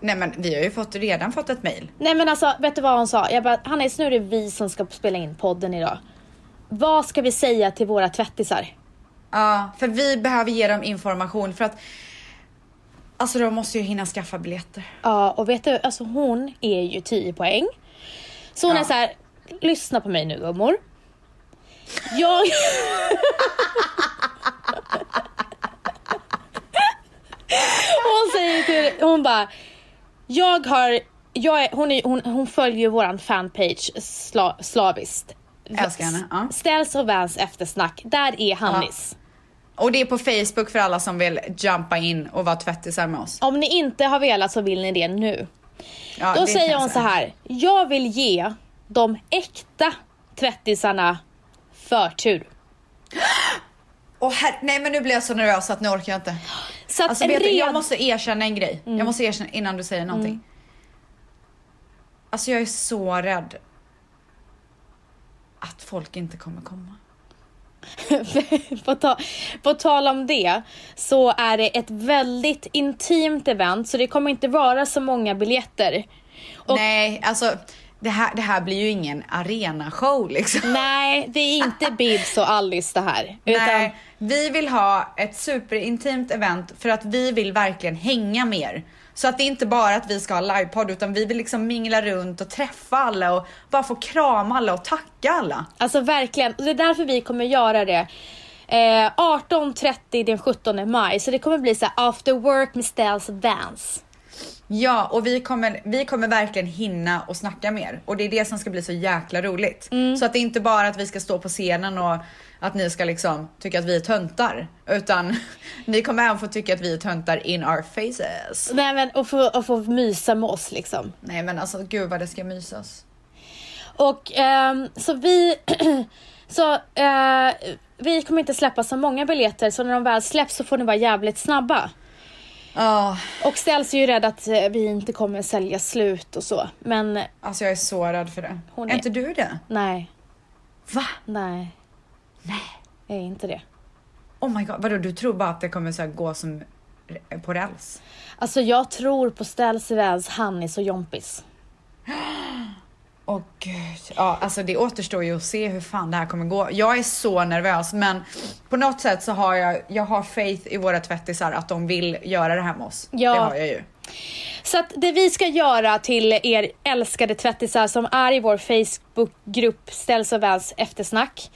Speaker 2: Nej men vi har ju fått, redan fått ett mejl.
Speaker 1: Nej men alltså, vet du vad hon sa? Jag bara, Hannis nu är det vi som ska spela in podden idag. Vad ska vi säga till våra tvättisar?
Speaker 2: Ja, för vi behöver ge dem information för att Alltså de måste ju hinna skaffa biljetter.
Speaker 1: Ja och vet du, alltså hon är ju 10 poäng. Så hon
Speaker 2: Ja.
Speaker 1: är så här, lyssna på mig nu gummor. Jag... hon säger till, hon bara, jag har, jag är, hon, är, hon, hon följer ju våran fanpage sla, slaviskt.
Speaker 2: Älskar henne, ja.
Speaker 1: Ställs och Vans eftersnack, där är Hannis.
Speaker 2: Och det är på Facebook för alla som vill jumpa in och vara tvättisar med oss.
Speaker 1: Om ni inte har velat så vill ni det nu.
Speaker 2: Ja,
Speaker 1: Då
Speaker 2: det kan
Speaker 1: säger
Speaker 2: jag
Speaker 1: hon så
Speaker 2: säga.
Speaker 1: här. Jag vill ge de äkta tvättisarna förtur.
Speaker 2: Åh, her- nej men nu blir jag så nervös att nu orkar jag inte.
Speaker 1: Så att
Speaker 2: Alltså,
Speaker 1: red... Mm.
Speaker 2: vet du, jag måste erkänna en grej. Jag måste erkänna innan du säger någonting. Alltså jag är så rädd att folk inte kommer komma.
Speaker 1: på, ta... på tal om det så är det ett väldigt intimt event så det kommer inte vara så många biljetter. Och-
Speaker 2: Nej, alltså det här, det här blir ju ingen arenashow liksom.
Speaker 1: Nej, det är inte Bibs och Alice det här. Utan...
Speaker 2: Nej, vi vill ha ett superintimt event för att vi vill verkligen hänga med er. Så att det är inte bara att vi ska ha livepodd utan vi vill liksom mingla runt och träffa alla och bara få krama alla och tacka alla.
Speaker 1: Alltså verkligen. Och Det är därför vi kommer göra det. Eh, 18.30 den 17 maj. Så det kommer bli så här after work med Ställs Vans.
Speaker 2: Ja, och vi kommer, vi kommer verkligen hinna och snacka mer. Och det är det som ska bli så jäkla roligt. Så att det är inte bara att vi ska stå på scenen och att ni ska liksom tycka att vi är töntar. Utan ni kommer även få tycka att vi är töntar in our faces.
Speaker 1: Nej men och få, och få mysa med oss liksom.
Speaker 2: Nej men alltså gud vad det ska mysas.
Speaker 1: Och ehm, så vi... så eh, vi kommer inte släppa så många biljetter så när de väl släpps så får ni vara jävligt snabba.
Speaker 2: Ja,
Speaker 1: Och ställs är ju rädd att eh, vi inte kommer sälja slut och så. Men
Speaker 2: alltså jag är så rädd för det.
Speaker 1: Hon
Speaker 2: är
Speaker 1: är-
Speaker 2: inte du det?
Speaker 1: nej,
Speaker 2: Va?
Speaker 1: nej. Nej. Är inte det.
Speaker 2: Oh my god, vadå du tror bara att det kommer så här gå som på räls?
Speaker 1: Alltså jag tror på Ställs, Vans, Hannis och Jompis.
Speaker 2: Åh gud. Ja, alltså det återstår ju att se hur fan det här kommer gå. Jag är så nervös men på något sätt så har jag, jag har faith i våra tvättisar att de vill göra det här med oss.
Speaker 1: Ja.
Speaker 2: Det har jag ju.
Speaker 1: Så att det vi ska göra till er älskade tvättisar som är i vår Facebookgrupp Ställs och Vans eftersnack.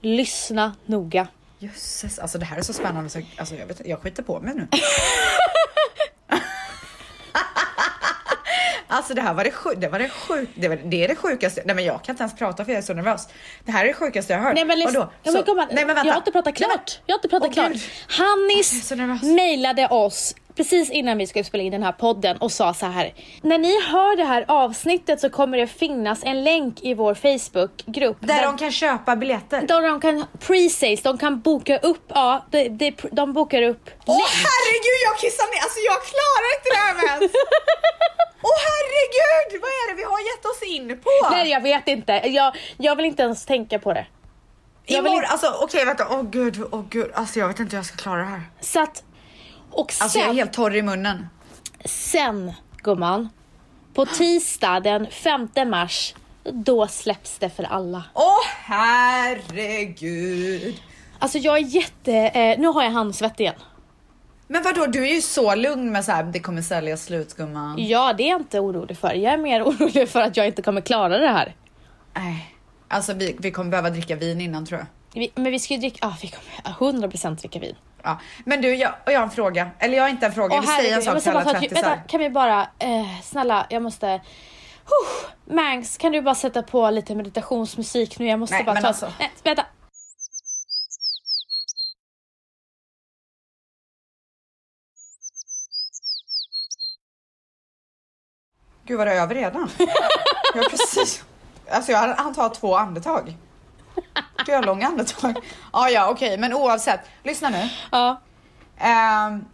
Speaker 1: Lyssna noga.
Speaker 2: Jösses, alltså det här är så spännande så alltså, jag, vet, jag skiter på mig nu. Alltså det här var det, sjuk, det, var det, sjuk, det, var, det är det sjukaste, nej men jag kan inte ens prata för jag är så nervös. Det här är det sjukaste jag har hört.
Speaker 1: Nej men, lyssna.
Speaker 2: Vadå?
Speaker 1: Ja,
Speaker 2: Så-
Speaker 1: men, gumman,
Speaker 2: nej men vänta.
Speaker 1: Jag har inte pratat
Speaker 2: Nej, men-
Speaker 1: klart. Jag har inte pratat
Speaker 2: Åh,
Speaker 1: klart.
Speaker 2: Gud. Jag är
Speaker 1: Hannis
Speaker 2: så nervös.
Speaker 1: mejlade oss precis innan vi skulle spela in den här podden och sa så här. När ni hör det här avsnittet så kommer det finnas en länk i vår Facebookgrupp.
Speaker 2: Där de kan köpa biljetter.
Speaker 1: där de kan pre-sales, de kan boka upp, ja, de, de, de bokar upp
Speaker 2: Åh
Speaker 1: länk.
Speaker 2: herregud jag kissar ner, alltså jag klarar inte det här med ens. Åh herregud, vad är det vi har gett oss in på?
Speaker 1: Nej jag vet inte, jag, jag vill inte ens tänka på det. jag vill
Speaker 2: Imorgon,
Speaker 1: inte-
Speaker 2: alltså okej vänta, åh gud, åh gud, alltså jag vet inte hur jag ska klara det här.
Speaker 1: Så att, och sen,
Speaker 2: Alltså jag är helt torr i munnen.
Speaker 1: sen gumman, på tisdag den 5 mars, då släpps det för alla.
Speaker 2: Åh herregud.
Speaker 1: Alltså jag är jätte... Eh, nu har jag handsvett igen.
Speaker 2: Men vadå, du är ju så lugn med så här, det kommer sälja slut gumman.
Speaker 1: Ja, det är jag inte orolig för. Jag är mer orolig för att jag inte kommer klara det här.
Speaker 2: Nej. Alltså vi, vi kommer behöva dricka vin innan tror jag.
Speaker 1: Vi, men vi ska ju dricka, ah, vi kommer 100% dricka vin.
Speaker 2: Ja. Men du, jag, och jag har en fråga. Eller jag har inte en fråga, jag vill säga en
Speaker 1: herregud,
Speaker 2: sak
Speaker 1: måste
Speaker 2: till alla
Speaker 1: bara ta ett djup-
Speaker 2: tvättisar.
Speaker 1: Vänta, kan vi bara, eh, snälla, jag måste... Huh, Mangs, kan du bara sätta på lite meditationsmusik nu? Jag måste
Speaker 2: Nej,
Speaker 1: bara
Speaker 2: men
Speaker 1: ta...
Speaker 2: alltså-
Speaker 1: Nej, vänta.
Speaker 2: Gud var det över redan? Jag har precis... Alltså jag hann ta två andetag. Du har långa andetag. Ja, ja, okej, men oavsett. Lyssna nu.
Speaker 1: Ja,
Speaker 2: Ehm,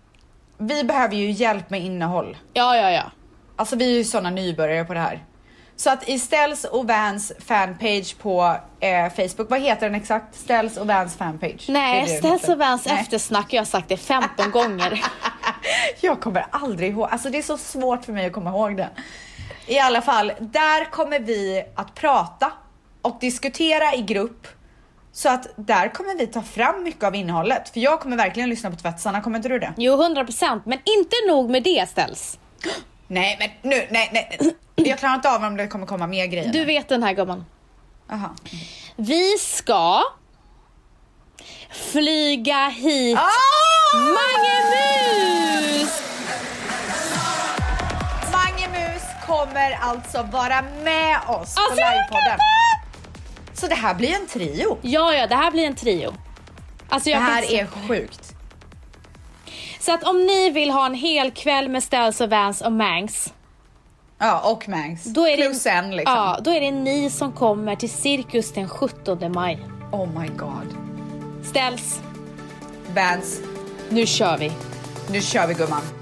Speaker 2: vi behöver ju hjälp med innehåll.
Speaker 1: ja, ja. ja.
Speaker 2: Alltså vi är ju sådana nybörjare på det här. Så att i Ställs och Vans fanpage på eh, Facebook, vad heter den exakt? Ställs och Vans fanpage? Det är
Speaker 1: Nej,
Speaker 2: det den
Speaker 1: Stens
Speaker 2: heter.
Speaker 1: och Vans
Speaker 2: Nej.
Speaker 1: eftersnack, jag har sagt det 15 gånger.
Speaker 2: Jag kommer aldrig ihåg, alltså det är så svårt för mig att komma ihåg det. I alla fall, där kommer vi att prata och diskutera i grupp. Så att där kommer vi ta fram mycket av innehållet. För jag kommer verkligen lyssna på tvättisarna, kommer inte du det?
Speaker 1: Jo, 100%, men inte nog med det Stens.
Speaker 2: Nej men nu, nej nej. Jag klarar inte av om det kommer komma mer grejer.
Speaker 1: Du vet den här gumman.
Speaker 2: Aha.
Speaker 1: Vi ska flyga hit
Speaker 2: Ah!
Speaker 1: Mange Mus!
Speaker 2: Mange Mus kommer alltså vara med oss på
Speaker 1: Alltså, jag
Speaker 2: livepodden. Så det här blir en trio.
Speaker 1: Ja, ja, det här blir en trio. Alltså,
Speaker 2: Det
Speaker 1: jag kan
Speaker 2: här
Speaker 1: inte-
Speaker 2: är sjukt.
Speaker 1: Så att om ni vill ha en hel kväll med Ställs och Vans och Mangs.
Speaker 2: Ja, och Mangs.
Speaker 1: Då är
Speaker 2: Plus
Speaker 1: det,
Speaker 2: en liksom.
Speaker 1: Ja, då är det ni som kommer till Cirkus den 17 maj.
Speaker 2: Oh my god.
Speaker 1: Ställs,
Speaker 2: Vans,
Speaker 1: nu kör vi.
Speaker 2: nu kör vi gumman.